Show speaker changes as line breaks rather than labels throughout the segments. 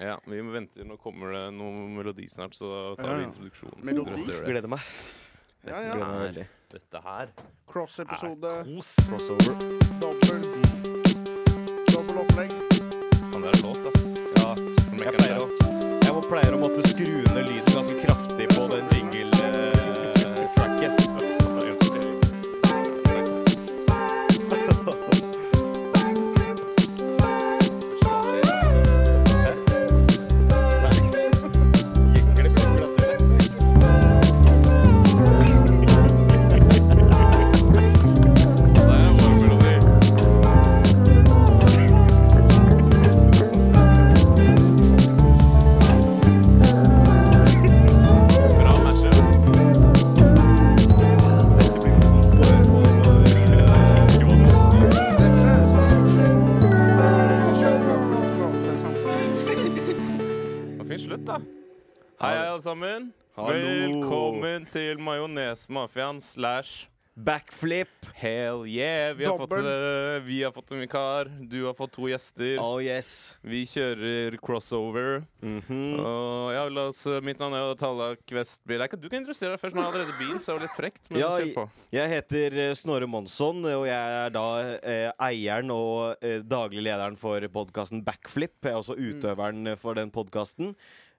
Ja, vi må vente. Nå kommer det noe melodi snart, så da tar
Ja,
vi
ja.
introduksjonen.
Melodi?
Dere gjør det.
Gleder meg.
Ja, ja.
Gleder meg veldig.
Dette her
Cross-episode.
er kos.
Crossover.
Ah, Dobbel. Dobbel opplegg.
Kan det være låt, ass?
Ja, jeg pleier å, jeg må pleier å måtte skru ned lyden ganske kraftig på den eh, jingle-tracket.
Fin slutt, da. Hei, hei, alle sammen.
Hallo.
Velkommen til Majonesmafiaen slash
Backflip.
Hell yeah. Vi har, fått,
Dobbel.
eh, vi har fått en vikar. Du har fått to gjester.
Oh yes.
Vi kjører crossover.
Mhm.
Og ja, la oss, eh, mitt navn er jo Tallak Vestby. Jeg kan- Du kan interessere deg først. Nå har jeg allerede begynt, så det er jo litt frekt. Men
Ja,
kjør på.
Jeg heter eh, Snorre Monsson, og jeg er da eh, eieren og eh, daglig lederen for podkasten Backflip. Jeg er også utøveren eh, for den podkasten.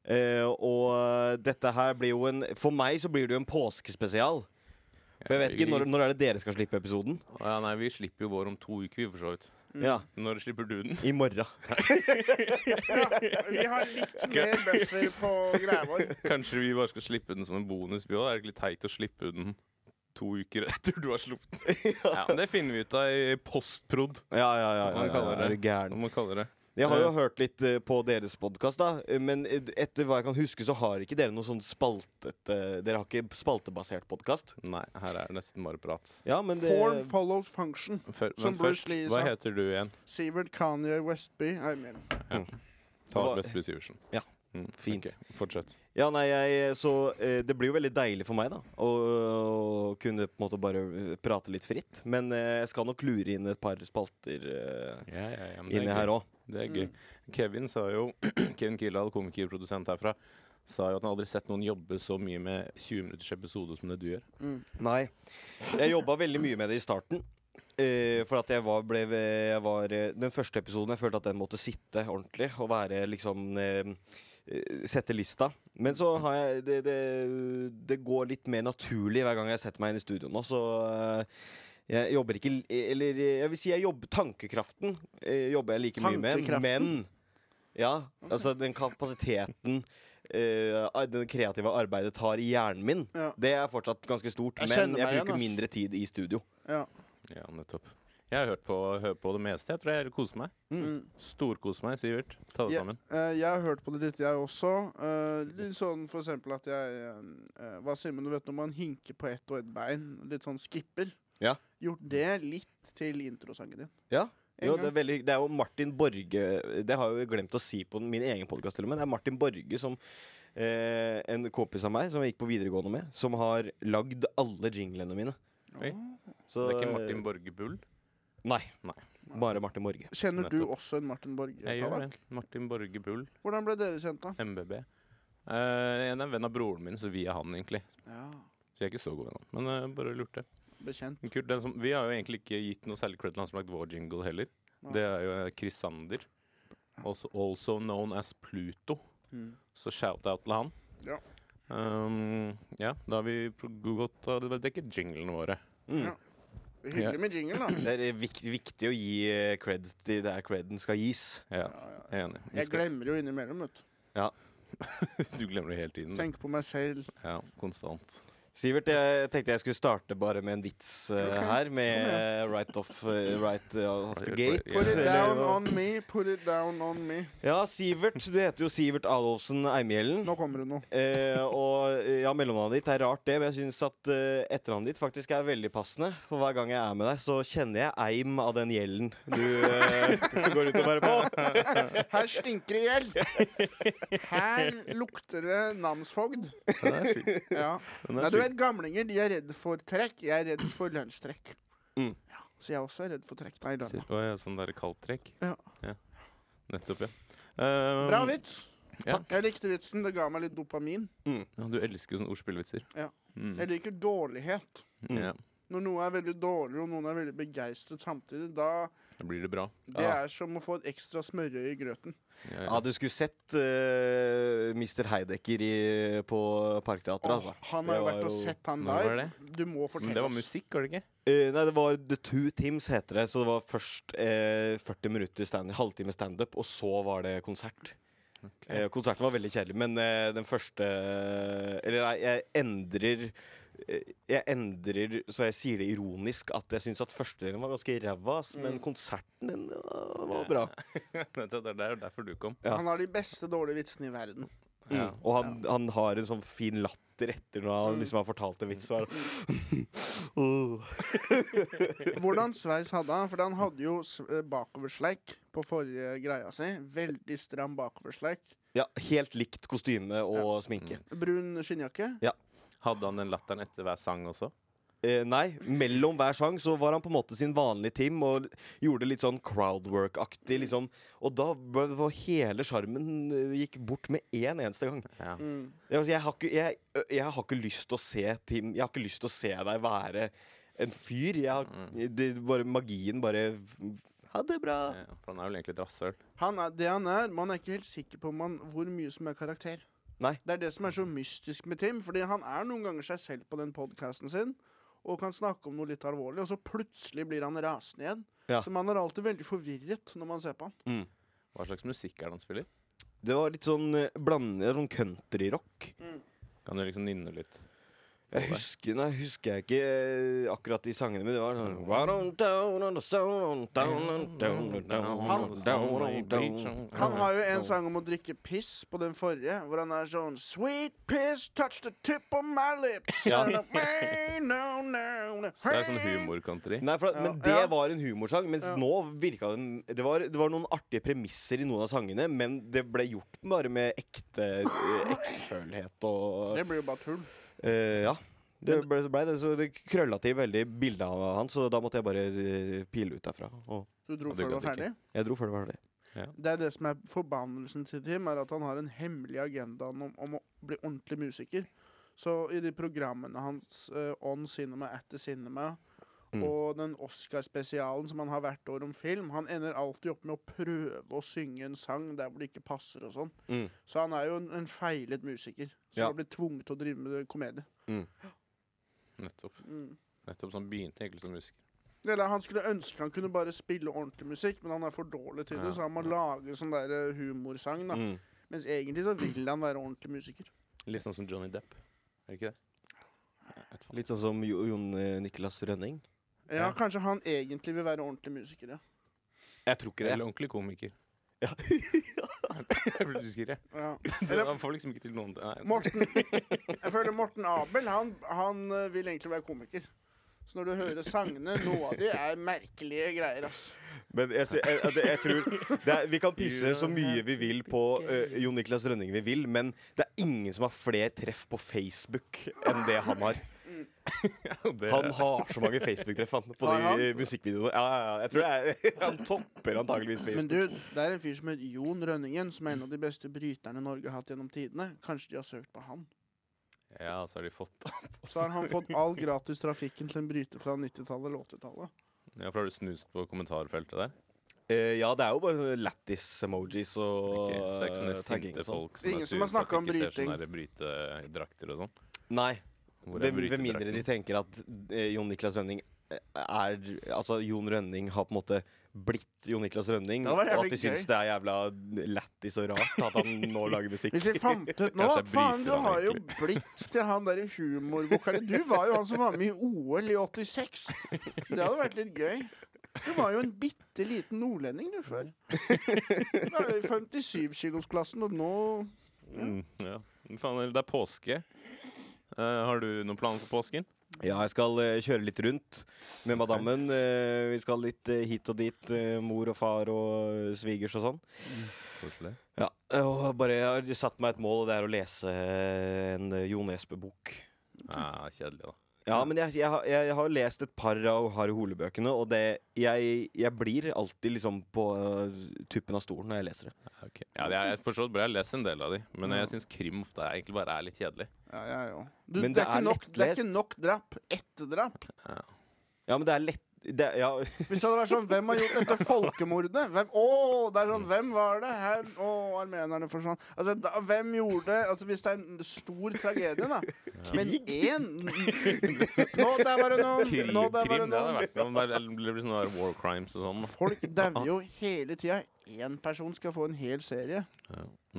Eh, og eh, dette her blir jo en For meg så blir det jo en påskespesial. For jeg vet ikke, Når, når er det dere skal slippe episoden?
Ja, nei, vi slipper jo vår om to uker, vi, for så vidt.
Ja,
Når slipper du den?
I morgen.
Vi har litt mer bøffer på greia vår.
Kanskje vi bare skal slippe den som en bonus, vi òg. Er det ikke litt teit å slippe den to uker etter du har sluppet den? Ja, men Det finner vi ut av i postprod,
Ja, ja, ja. ja,
Hva man
ja,
kaller
ja, er
hva
du gæren?
man kaller det.
Jeg har jo hørt litt eh, på deres podkast, da. eh, Men eh, etter hva jeg kan huske, så har ikke dere noe sånn spaltet eh, Dere har ikke spaltebasert podkast.
Nei, her er det nesten bare prat.
Ja, men det
Form follows function.
Før,
Som
men
Bruce
først,
Lee
hva
sa.
heter du igjen?
Sivert Kanye Westby. Nei, men
Ta
Hva-
Vestby Sivertsen.
Ja,
Mm,
fint.
ok, fortsett.
Ja, nei, jeg, så eh, det blir jo veldig deilig for meg, da. Å, å kunne på en måte bare eh, prate litt fritt. Men eh, jeg skal nok lure inn et par spalter eh,
Ja, ja, ja, men Mm, det er
inni
gøy.
her òg.
Det er gøy.
Mm.
Kevin sa jo Kevin Kildahl, komikerprodusent herfra, sa jo at han aldri sett noen jobbe så mye med 20 minutters episode som det du gjør.
Nei. Jeg jobba veldig mye med det i starten. eh, for at jeg var, ble, jeg var eh, Den første episoden jeg følte at den måtte sitte ordentlig og være liksom eh, eh, Sette lista. Men så har jeg det, det, det går litt mer naturlig hver gang jeg setter meg inn i studio nå, så eh, jeg jobber ikke l- Eller eh, jeg vil si jeg jobber Tankekraften eh, jobber jeg like mye med,
Tankekraften?
men Ja, altså den kapasiteten eh, Det kreative arbeidet tar i hjernen min,
Ja.
det er fortsatt ganske stort.
Jeg
men
kjenner
jeg
meg igjen,
bruker
ass.
mindre tid i studio.
ja.
Ja, nettopp. Jeg har hørt på, hørt på det meste. Jeg tror jeg koser meg.
Mm.
Storkoser meg, Sivert. Ta det
Ja.
sammen.
Eh, jeg har hørt på det litt, jeg også. Eh, litt sånn for eksempel at jeg eh, eh, Hva sier man du vet når man hinker på ett og ett bein? Litt sånn skipper.
Ja.
Gjort det litt til introsangen din.
Ja.
En
Jo,
gang.
det, er veldig, det er jo Martin Borge Det har jeg jo glemt å si på den- min egen podkast, til og med. Det er Martin Borge som eh, En kompis av meg som jeg gikk på videregående med, som har lagd alle jinglene mine.
Oi. Det
Så,
er ikke Martin
eh,
Borge Bull.
Nei.
Nei.
Bare Martin Borge.
Kjenner du
Nettopp.
også en Martin Borge?
Jeg gjør
Tallak?
det. Martin Borge Bull,
Hvordan ble dere kjent, da?
MBB. Eh, en er venn av broren min, så vi er han, egentlig.
Ja,
Så jeg er ikke så god venn av han. Men eh, bare lurte.
Bekjent.
Men Kult, den som, vi har jo egentlig ikke gitt noe særlig cred til han som har lagd vår jingle heller.
Nei.
Det er jo eh, Chris Sander. Also, also known as Pluto.
Mm.
Så shout-out til han.
Ja.
Um, ja, da har vi pro- gått av Det er ikke jinglene våre.
Mm.
Ja. Hyggelig med jingle, da.
Det er vik viktig å gi eh, cred til der creden skal gis.
Ja,
Ja, ja.
enig. Vi
Jeg
skal-
glemmer jo innimellom, vet du.
Du glemmer det hele tiden. du.
Tenker på meg selv.
Ja, konstant.
Sivert, jeg tenkte jeg skulle starte bare med en vits eh,
Ok.
her. Med
Kom
eh, right off, eh, right eh, off the gate.
Put
Put it
eller
down
hva-
on me, put it down on me.
Ja, Sivert. Du heter jo Sivert Adolfsen Eimhjellen.
Nå kommer det noe.
Eh, og eh, ja, mellomnavnet ditt er rart, det, men jeg syns at eh, etternavnet ditt faktisk er veldig passende. For hver gang jeg er med deg, så kjenner jeg eim av den gjelden du eh, går ut og bærer på.
Her stinker det i hjel! Her lukter det namsfogd. Ja.
Den
Nei,
er
du
fin.
vet, gamlinger de er redd for trekk. Jeg er redd for lunsjtrekk.
Mm.
Ja, så jeg er også redd for trekk. Nei, da.
Å ja, sånn der kaldtrekk?
Ja.
Nettopp, ja. Um,
Bra vits.
Ja.
Jeg likte vitsen. Det ga meg litt dopamin.
Ja, du elsker jo sånne ordspillvitser.
Ja.
Mm.
Jeg liker dårlighet.
Mm.
Ja,
Når noe er veldig dårlig, og noen er veldig begeistret samtidig, da
da blir det bra.
Det
Ja.
er som å få et ekstra smørøye i grøten.
Ja,
Ja,
ja.
du skulle sett eh, Mr. Heidecker i, på Parkteatret, altså.
Åh, han har jo
Det
vært
var
og
jo-
sett han
Når var
live. Du må
Men
fortelle
det var
oss.
musikk, var det ikke?
Eh, nei, det var The Two Teams heter det. Så det var først eh, 40 minutter stand halvtime standup, og så var det konsert. Eh, konserten var veldig kjedelig, men eh, den første eh, Eller nei, jeg endrer eh, jeg endrer, så jeg sier det ironisk, at jeg syns at første delen var ganske ræva, ass, men
Mm.
konserten den ja, var bra.
Nettopp, det er der- derfor du kom.
Ja.
Han har de beste dårlige vitsene i verden.
Mm.
Ja.
Og han, han har en sånn fin latter etter når han
Mm.
liksom har fortalt en vits. Så er han, oh.
Hvordan sveis hadde han? For han hadde jo s- eh, bakoversleik på forrige greia si. Veldig stram bakoversleik.
Ja, helt likt kostyme og sminke.
Brun skinnjakke.
Hadde han den latteren etter hver sang også?
Eh, nei, mellom hver sang så var han på en måte sin vanlige team og gjorde litt sånn crowdwork-aktig, liksom. Og da ble- var hele sjarmen eh, gikk bort med én eneste gang.
Ja.
Mm.
Jeg, jeg, har ikke, jeg, ø, jeg har ikke lyst til å se Tim Jeg har ikke lyst til å se deg være en fyr. Jeg har, det, bare, magien bare Ha det bra.
Ja, For han er vel egentlig et rasshøl.
Han er, det han er, man er ikke helt sikker på om han, hvor mye som er karakter.
Nei.
Det er det som er så mystisk med Tim, fordi han er noen ganger seg selv på den podkasten sin. Og kan snakke om noe litt alvorlig, og så plutselig blir han rasende igjen.
Ja.
Så man er alltid veldig forvirret når man ser på han.
Hva slags musikk er det han spiller?
Det var litt sånn eh, blanding Sånn countryrock.
Kan du liksom nynne litt?
Jeg husker, nei, husker jeg ikke eh, akkurat de sangene, men det var sånn Why don't down on the sound, on down on
sånn
down on down on down on down.
Han har jo en sang om å drikke piss på den forrige, hvor han er sånn Sweet piss, touch the tip of my lips.
Ja.
And I- no, no, no.
Det er sånn humorcountry.
Nei, for, at-
Ja.
Men det
Ja.
var en humorsang. Mens
Ja.
nå virka den det var, det var noen artige premisser i noen av sangene, men det ble gjort bare med ekte eh, ektefølhet og
Det blir jo bare tull.
eh, Ja. Det ble, så ble det, så det krølla til veldig bildet av han, så da måtte jeg bare eh, pile ut derfra. Og
Du dro
Ja, det
før du var
gadd ikke.
ferdig.
jeg dro før det var det.
Det er det som er forbannelsen til Tim, er at han har en hemmelig agenda om, om å bli ordentlig musiker. Så i de programmene hans, eh, On Cinema, At the Cinema,
Mm.
og den Oscar-spesialen som han har hvert år om film, han ender alltid opp med å prøve å synge en sang der hvor det ikke passer og sånn.
Mm.
Så han er jo en, en feilet musiker, som
Ja.
har blitt tvunget til å drive med komedie.
Nettopp.
Mm.
Nettopp så han begynte egentlig som musiker.
Eller han skulle ønske han kunne bare spille ordentlig musikk, men han er for dårlig til det,
Ja,
så han må
ja.
lage sånn der eh, humorsang, da.
Mm.
Mens egentlig så vil han være ordentlig musiker.
Litt sånn som Johnny Depp. Er det ikke det? Jeg vet faen.
Litt sånn som Jo- Jon eh, Niklas Rønning.
Ja.
Ja, kanskje han egentlig vil være ordentlig musiker, ja.
Jeg tror ikke det.
Eller ordentlig komiker.
Ja.
Jeg blir usikker, jeg.
ja. Eller
Han får liksom ikke til noen Nei.
Morten Jeg føler Morten Abel, han, han eh, vil egentlig være komiker. Så når du hører sangene, noe av de er merkelige greier, ass.
Men jeg, sy- jeg, jeg, jeg tror det er, Vi kan pisse så mye vi vil på uh, Jon Niklas Rønning vi vil, men det er ingen som har flere treff på Facebook enn det han har.
Det,
Han har så mange Facebook-treff han, på
Har han?
de musikkvideoene. Ja, ja, ja, jeg tror jeg, Han topper antageligvis
Men
Facebook.
du, det er en fyr som heter Jon Rønningen, som er en av de beste bryterne Norge har hatt gjennom tidene. Kanskje de har søkt på han.
Ja, så har de fått opp
Så har han fått all gratis trafikken til en bryter fra 90-tallet eller 80-tallet.
Ja, for har du snust på kommentarfeltet der?
Eh, ja, det er jo bare sånne lattis-emojis og
Ikke? Så det er ikke sånne
eh, tagging
sinte
og sånn.
folk som er
Ingen som
sure
har
for at
snakket om
de ikke ser
bryting.
sånne der brytedrakter og sånn.
Nei,
Hvor
med
er
med mindre de
brytedrakten?
tenker at eh, Jon Niklas Rønning eh, er Altså, Jon Rønning har på en måte blitt Jon Niklas Rønning,
Det
og
var jævlig
at de syns
gøy.
det er jævla lættis og rart at han nå lager musikk.
Hvis vi fant ut nå
Kanskje
at faen, du
bryter han
har jo blitt til han derre humorvokalen. Du var jo han som var med i OL i 86. Det hadde vært litt gøy. Du var jo en bitte liten nordlending du før. Du var jo i 57-kilosklassen, og nå
Mm, ja. Men faen, det er påske. Eh, har du noen planer for påsken?
Ja, jeg skal eh, kjøre litt rundt med madammen. Eh, vi skal litt eh, hit og dit. eh, mor og far og eh, svigers og sånn.
Koselig.
Ja, og bare Jeg har satt meg et mål, og det er å lese en eh, Jon Espe-bok.
Ja, Ah, kjedelig, da.
Ja, men jeg, jeg, har- jeg har lest et par av Harry Hole-bøkene, og det, jeg, jeg blir alltid liksom på øh, tuppen av stolen når jeg leser det.
Ja, det er, jeg forstår bra, jeg har lest en del av de, men jeg syns krim ofte er, egentlig bare er litt kjedelig.
Ja, ja, ja. Du,
Men
det, er
det er
ikke nok, det er
lettlest.
ikke nok drap. Ett drap.
Ja, men det er lett det, er- ja,
Hvis det hadde vært sånn, hvem har gjort dette folkemordet? Hvem, å, det er sånn, hvem var det her? Å, armenerne forsvant. Altså, da, hvem gjorde det? Altså, hvis det er en stor tragedie, da. Men én Nå, det er bare noen
Krim,
Nå, det er
krim det
bare
hadde
noen
vært noe. men Det blir blir sånn der war crimes og sånn.
Folk dauer jo hele tida. Én person skal få en hel serie.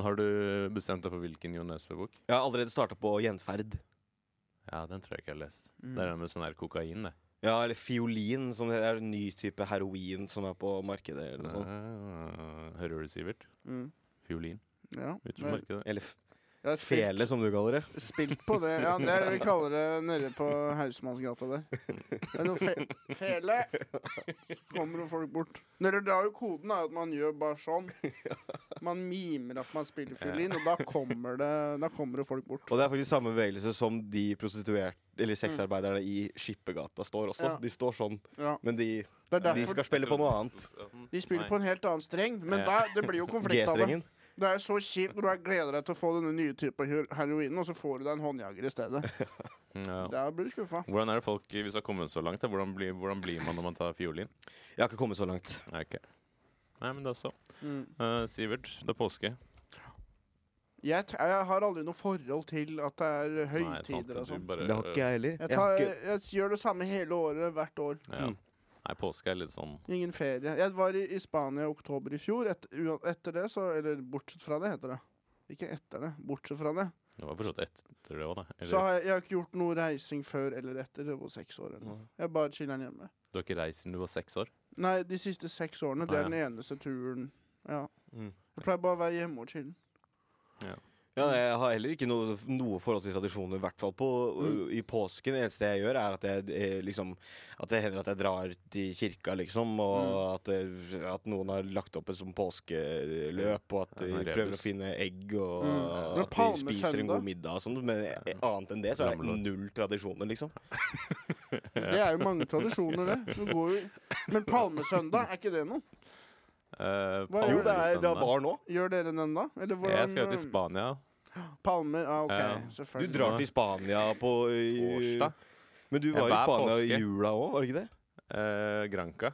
Har du bestemt deg for hvilken Jo Nesbø-bok?
jeg har allerede starta på Gjenferd.
Ja, den tror jeg ikke jeg har lest.
Mm.
Det er den med sånn her kokain, det.
Ja, eller fiolin, som det er en ny type heroin som er på markedet. Eller noe sånt.
Ah, Hører du, Sivert?
Mm.
Fiolin.
Ja.
Ute på
men
markedet.
Eh, Eller f-
Jeg har spilt,
fele, som du kaller det.
spilt på det. Ja, det er det vi kaller det nede på Hausmannsgata der. Det er noe fe fele. Kommer jo folk bort. Dere drar jo koden, er jo at man gjør bare sånn. Man mimer at man spiller fiolin, og da kommer det Da kommer det folk bort.
Og det er faktisk samme bevegelse som de prostituerte Eller sexarbeiderne i Skippergata står også.
Ja.
De står sånn,
Ja.
men de,
Det er
de
derfor
skal spille på noe annet.
de spiller på en helt annen streng, men
Ja.
da, det blir jo konflikt av det.
G-strengen.
Det er så kjipt når du har gleder deg til å få denne nye typen hero- heroin, og så får du deg en håndjager i stedet.
Ja.
Da blir du skuffa.
Hvordan er det folk, hvis du har kommet så langt, da, hvordan, blir, hvordan blir man når man tar fiolin?
Jeg har ikke kommet så langt.
Nei, ok. Nei, men da så.
Mm.
Eh, Sivert, det er påske.
Jeg, t- jeg har aldri noe forhold til at det er
Nei, sant,
høytider og
du
sånn.
bare-
Det har ikke jeg heller.
Jeg,
Jeg har
tar,
ikke
jeg gjør det samme hele året, hvert år.
Ja.
Mm.
Nei, påske er litt sånn
Ingen ferie. Jeg var i, i Spania i oktober i fjor. Et, ua- etter det, så Eller bortsett fra det, heter det. Ikke etter det. Bortsett fra det.
Det var for så vidt etter det òg, da. Eller,
Så har jeg, jeg har ikke gjort noe reising før eller etter. Det var seks år eller noe.
Nei.
Jeg bare chiller'n hjemme.
Du har ikke reist siden du var seks år?
Nei, de siste seks årene. Det
Ah,
er den eneste turen. Ja.
Mm.
Jeg pleier bare å være hjemme og chille.
Ja, jeg har heller ikke noe, noe forhold til tradisjoner, i hvert fall på, i påsken. Det eneste jeg gjør, er at jeg eh, liksom At det hender at jeg drar til kirka, liksom. Og at, det- at noen har lagt opp et sånt påskeløp, og at de
Ja, rebus.
prøver å finne egg, og
Mm. Men
at de
palmesøndag?
spiser en god middag og sånn. Men eh, annet enn det, så er det
Rammelår.
null tradisjoner, liksom.
Det er jo mange tradisjoner, det. Du går jo... Men palmesøndag, er ikke det noe?
Eh,
Hva
Palme
gjør
Jo, det er det
søndag.
var nå.
Gjør dere den, da? Eller hvordan
Jeg skal jo til
eh,
Spania
Palmer? Ah, OK.
Ja.
Du
Selvfølgelig.
drar til Spania på eh,
torsdag.
Men du
Ja,
var i
hver
Spania i
påske.
jula òg, var det ikke det?
Eh, Granca.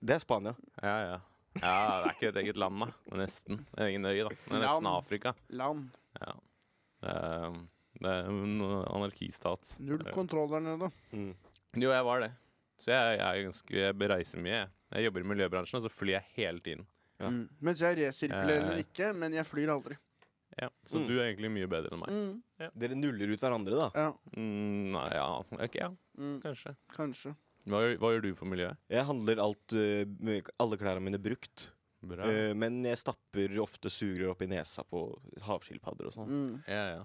Det er Spania.
Ja, ja. Ja, det er ikke et eget land, da. Men nesten. En egen øy, da. Men
Land.
nesten Afrika.
Land.
Ja. Det er, det er en anarkistat.
Null
Eh,
kontroll der nede.
Mm.
Jo, jeg var det. Så jeg, jeg, er ganske, jeg bereiser mye. jeg. Jeg jobber i miljøbransjen, og så flyr jeg hele tiden.
Ja.
Mm. Mens jeg resirkulerer
Eh.
ikke, men jeg flyr aldri.
Ja. Så
Mm.
du er egentlig mye bedre enn meg.
Mm.
Dere nuller ut hverandre, da.
Ja,
Mm, nei, ja. ok, ja,
mm.
kanskje.
kanskje.
Hva, gjør- hva gjør du for miljøet?
Jeg handler alt, eh, med alle klærne mine brukt.
Bra.
Eh, men jeg stapper ofte sugerør opp i nesa på havskilpadder og sånn.
Mm.
ja, ja.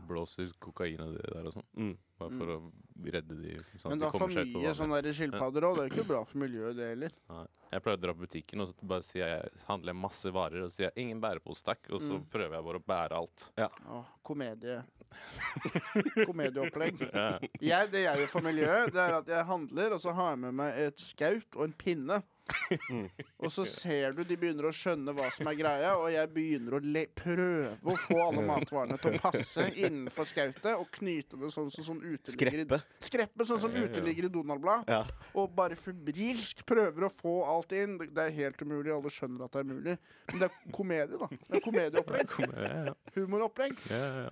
Blåser kokain og det der og sånn.
Mm.
Bare for å redde de. Sånn
Men
at
da
de
for
kommer seg ut på
mye
vanlig.
sånne der skilpadder òg, det er jo ikke bra for miljøet, det heller.
Jeg pleier å dra på butikken og så bare sier jeg, handler jeg masse varer og sier jeg, 'ingen bærepose, takk', og så
Mm.
prøver jeg bare å bære alt.
Åh, komedie. Komedieopplegg. Jeg, det jeg gjør for miljøet, det er at jeg handler, og så har jeg med meg et skaut og en pinne.
Mm.
Og så ser du de begynner å skjønne hva som er greia, og jeg begynner å le prøve å få alle matvarene til å passe innenfor skautet, og knyte det sånn som sånn uteligger i
Skreppe.
Skreppe sånn som
Ja, ja, ja.
uteligger i Donald-blad.
Ja.
Og bare febrilsk prøver å få alt inn. Det det er helt umulig. Alle skjønner at det er mulig. Men det er komedie, da. Det er komedieopplegg.
Kom, ja, ja,
Humoropplegg.
ja, ja.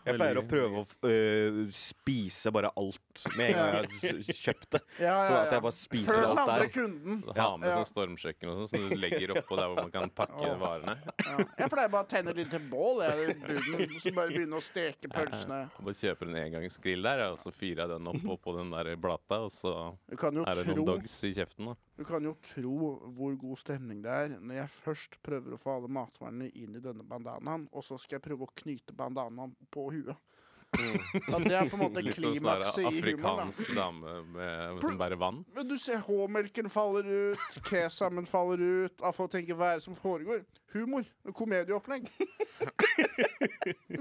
Jeg pleier å prøve å f- eh, spise bare alt med en gang jeg har s- kjøpt det.
Ja, ja,
Sånn at jeg
ja.
bare spiser
Før den
alt
andre
der.
kunden.
Ha
Ja.
med
Ja.
sånn stormkjøkken og sånn, som du legger oppå der hvor man kan pakke
Åh.
varene.
Ja. Jeg pleier bare å tenne et lite bål, jeg, i buden. Så bare begynne å steke pølsene.
Og bare kjøper en engangsgrill der, og så fyrer jeg den opp og på den der blata, og så
Du kan jo
er det noen
tro
dogs i kjeften, da.
Du kan jo tro hvor god stemning det er når jeg først prøver å få alle matvarene inn i denne bandanaen, og så skal jeg prøve å knyte bandanaen på huet. Ja, det er på en måte
Mm. Litt sånn snarere
klimakset i humoren. da.
afrikansk dame med, som bærer vann.
Men du ser H-melken faller ut, kesamen faller ut. Alle folk tenker hva er det som foregår? Humor. Komedieopplegg.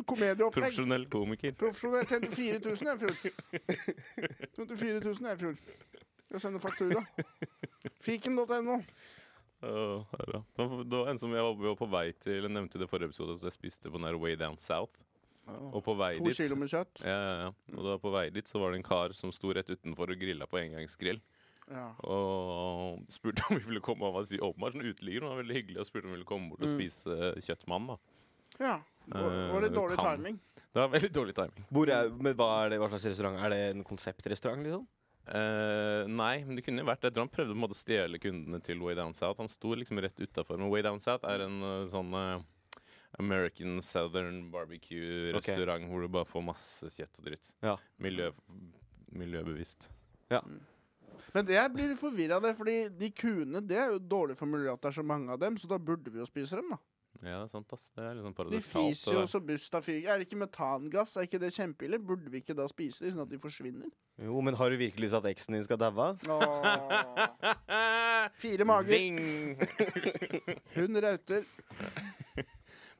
Komedieopplegg.
Profesjonell komiker.
Profesjonell tjente 4000 i fjor. 24 000 i fjor. Jeg sender faktura. Fiken.no.
Åh, herre. det, var, det var en som jeg var, vi var på vei til Jeg nevnte det i forrige episode, så jeg spiste på den der Way Down South. Og på vei
To
dit
kilo med kjøtt.
ja, ja, ja. Og da på vei dit så var det en kar som sto rett utenfor og grilla på engangsgrill.
Ja.
Og spurte om vi ville komme Han var si- åpenbart en uteligger, men han var veldig hyggelig og spurte om vi ville komme bort og spise eh, kjøtt med han. da
ja. Var var det dårlig
Kan.
timing?
Det var veldig dårlig timing.
Hvor er, men hva, er det, hva slags restaurant? Er det en konseptrestaurant, liksom?
Eh, nei, men det kunne jo vært det. Jeg tror han prøvde på en måte å stjele kundene til Way Down South. Han sto liksom rett utafor. Men Way Down South er en eh, sånn eh, American Southern barbecue-restaurant hvor du bare får masse kjøtt og dritt.
Ja.
Miljø, miljøbevisst.
Men det jeg blir forvirra av, det, fordi de kuene det er jo dårlig for miljøet at det er så mange av dem, så da burde vi jo spise dem, da.
Ja, det er sant, ass. Det er liksom
De
paradoksalt.
fiser jo
det der.
så busta fyker. Er det ikke metangass? Er ikke det kjempeille? Burde vi ikke da spise dem, sånn at de forsvinner?
Jo, men har du virkelig lyst til at eksen din skal daue?
Åh. Fire mager,
Zing!
hun rauter.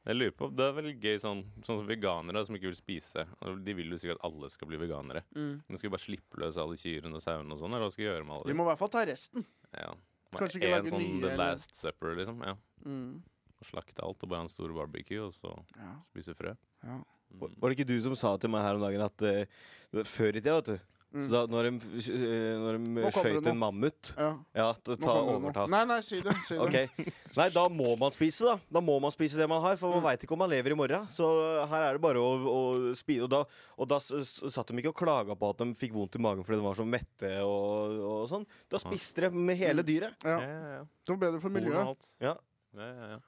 Jeg lurer på, Det er veldig gøy sånn, sånn som veganere som ikke vil spise. og De vil jo sikkert at alle skal bli veganere.
Mm.
Men skal vi bare slippe løs alle kyrne og sauene og sånn? Eller hva skal vi gjøre med alle de
Vi må i hvert fall ta resten.
Ja.
Kanskje
Kanskje
ikke
ikke
lage
en sånn
nye,
The
eller-
Last Supper, liksom. Ja.
Mm.
Og Slakte alt og bare ha en stor barbecue, og så
Ja.
spise frø.
Ja.
Var var det ikke du som sa til meg her om dagen at eh, det var før i tida, vet du
Mm.
så da, Når de, eh, når de
Nå kommer det
skøyt
nå.
en mammut
ja.
Ja, ta
Nå kommer det
overta.
noe. Nei, nei, si det. Si det.
Ok. Nei, da må man spise, da. Da må man spise det man har, for man
Mm.
veit ikke om man lever i morgen. Så eh, her er det bare å, å spise. Og da, og da s- s- satt de ikke og klaga på at de fikk vondt i magen fordi de var så mette og, og sånn. Da spiste de med hele dyret.
Ja.
Ja, ja, ja.
Det var bedre for
Korn og
miljøet.
alt.
Ja.
Ja, ja, ja.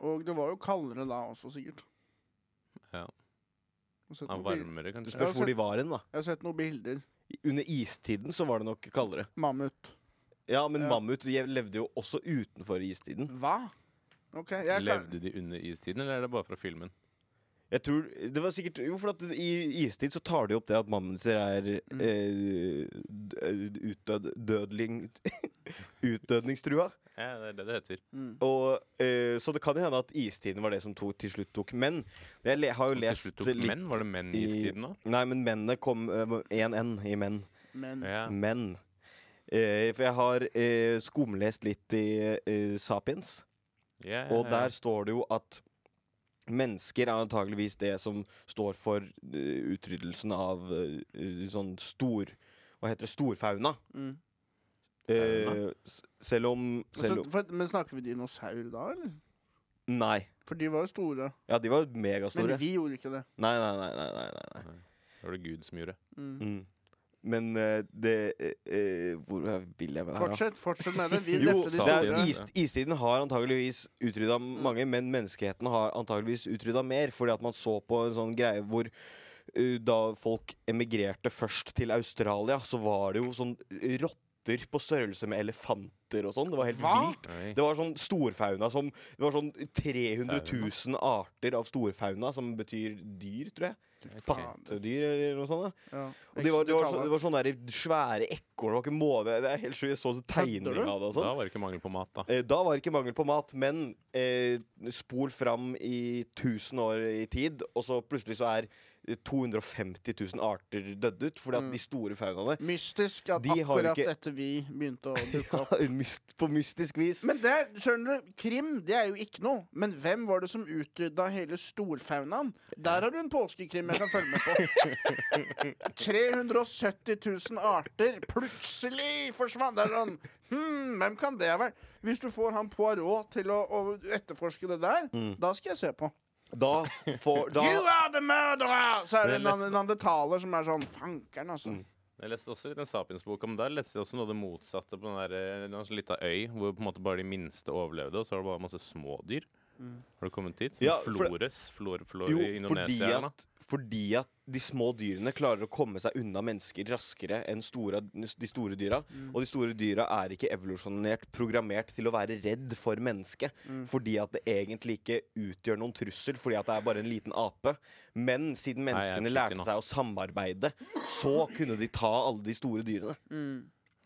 Og det var jo kaldere da også, sikkert.
Ja.
Jeg har sett
Ja,
noen bil-
varmere,
Det
kanskje.
Ja,
spørs hvor
så-
de var hen, da.
jeg har sett noen bilder.
Under istiden så var det nok kaldere.
Mammut.
Ja, men
Ja.
mammut je- levde jo også utenfor istiden.
Hva? Ok, jeg kan...
Levde de under istiden, eller er det bare fra filmen?
Jeg tror, det var sikkert, jo, for at I istid så tar de opp det at mammuter er
Mm.
eh, d- eh, utdød, dødling, utdødningstrua.
Ja, det er det det heter.
Mm.
Og, eh, så det kan jo hende at istiden var det som tok, til slutt tok menn. Jeg le, har jo
Som til
lest
slutt tok
litt
menn? Var det menn i
i-
istiden òg?
Nei, men mennene kom én N i menn.
Men
Ja.
Menn. Eh, for jeg har eh, skumlest litt i eh, Sapiens.
Ja, ja,
Og
ja.
der står det jo at mennesker er antageligvis det som står for eh, utryddelsen av eh, eh, sånn stor Hva heter det? Storfauna.
Mm.
Eh,
Fauna?
s- selv om, selv
Så,
om
for, men snakker vi dinosaur da, eller?
Nei.
For de var jo store.
Ja, de var jo
Men
megastore.
vi gjorde ikke det.
Nei, nei, nei. nei, nei, nei.
Det var det Gud som gjorde.
Mm.
Mm. Men eh, det eh, eh, Hvor vil jeg med det her, da?
Fortsett fortsett med det. Vi
Jo,
leste de
sa
det
store.
er, is, istiden har antageligvis utrydda
Mm.
mange, men menneskeheten har antageligvis utrydda mer. Fordi at man så på en sånn greie hvor uh, da folk emigrerte først til Australia, så var det jo sånn rotter på størrelse med elefanter og sånn. Det var helt
Hva?
vilt. Det var sånn storfauna som Det var sånn 300 000 arter av storfauna, som betyr dyr, tror jeg.
faen.
Pattedyr eller noe sånt. da.
Ja.
Og de var, de var, så,
Ekstremitaler.
de var sånne der svære ekorn, det var ikke måve. Det er helt sjukt. Jeg så sånn tegning
Kødder du?
av det og sånn.
Da var det ikke mangel på mat, da.
Eh, Da var det ikke mangel på mat, men eh, spol fram i 1000 år i tid, og så plutselig så er eh, 250 000 arter dødd ut, fordi at
Mm.
de store faunaene
Mystisk at
De har jo
akkurat
ikke-
etter vi begynte å dukke opp.
myst, På mystisk vis.
Men det, skjønner du, krim det er jo ikke noe. Men hvem var det som utrydda hele storfaunaen? Der har du en påskekrim jeg kan følge med på. 370 000 arter plutselig forsvant. Det er sånn Hm, hvem kan det ha vært? Hvis du får han Poirot til å, å etterforske det der,
Mm.
da skal jeg se på.
Da får da,
You are the murderer! Så er det
Det
en
er
nan- nandetaler som er sånn Fankeren, altså.
Mm.
Jeg leste også litt en Sapiens-bok, men der leste jeg også noe av det motsatte på den der, eh, en sånn lita øy, hvor på en måte bare de minste overlevde, og så var det bare masse smådyr. Har du kommet dit? Sånn
Ja, for-
Flores, flor, flor
Jo,
i
fordi
Indonesia. eller noe.
at, fordi at de små dyrene klarer å komme seg unna mennesker raskere enn store, de store dyra. Og de store dyra er ikke evolusjonert programmert til å være redd for mennesket. Fordi at det egentlig ikke utgjør noen trussel, fordi at det er bare en liten ape. Men siden
Nei, jeg er
menneskene
forsiktig
lærte
nå.
seg å samarbeide, så kunne de ta alle de store dyrene.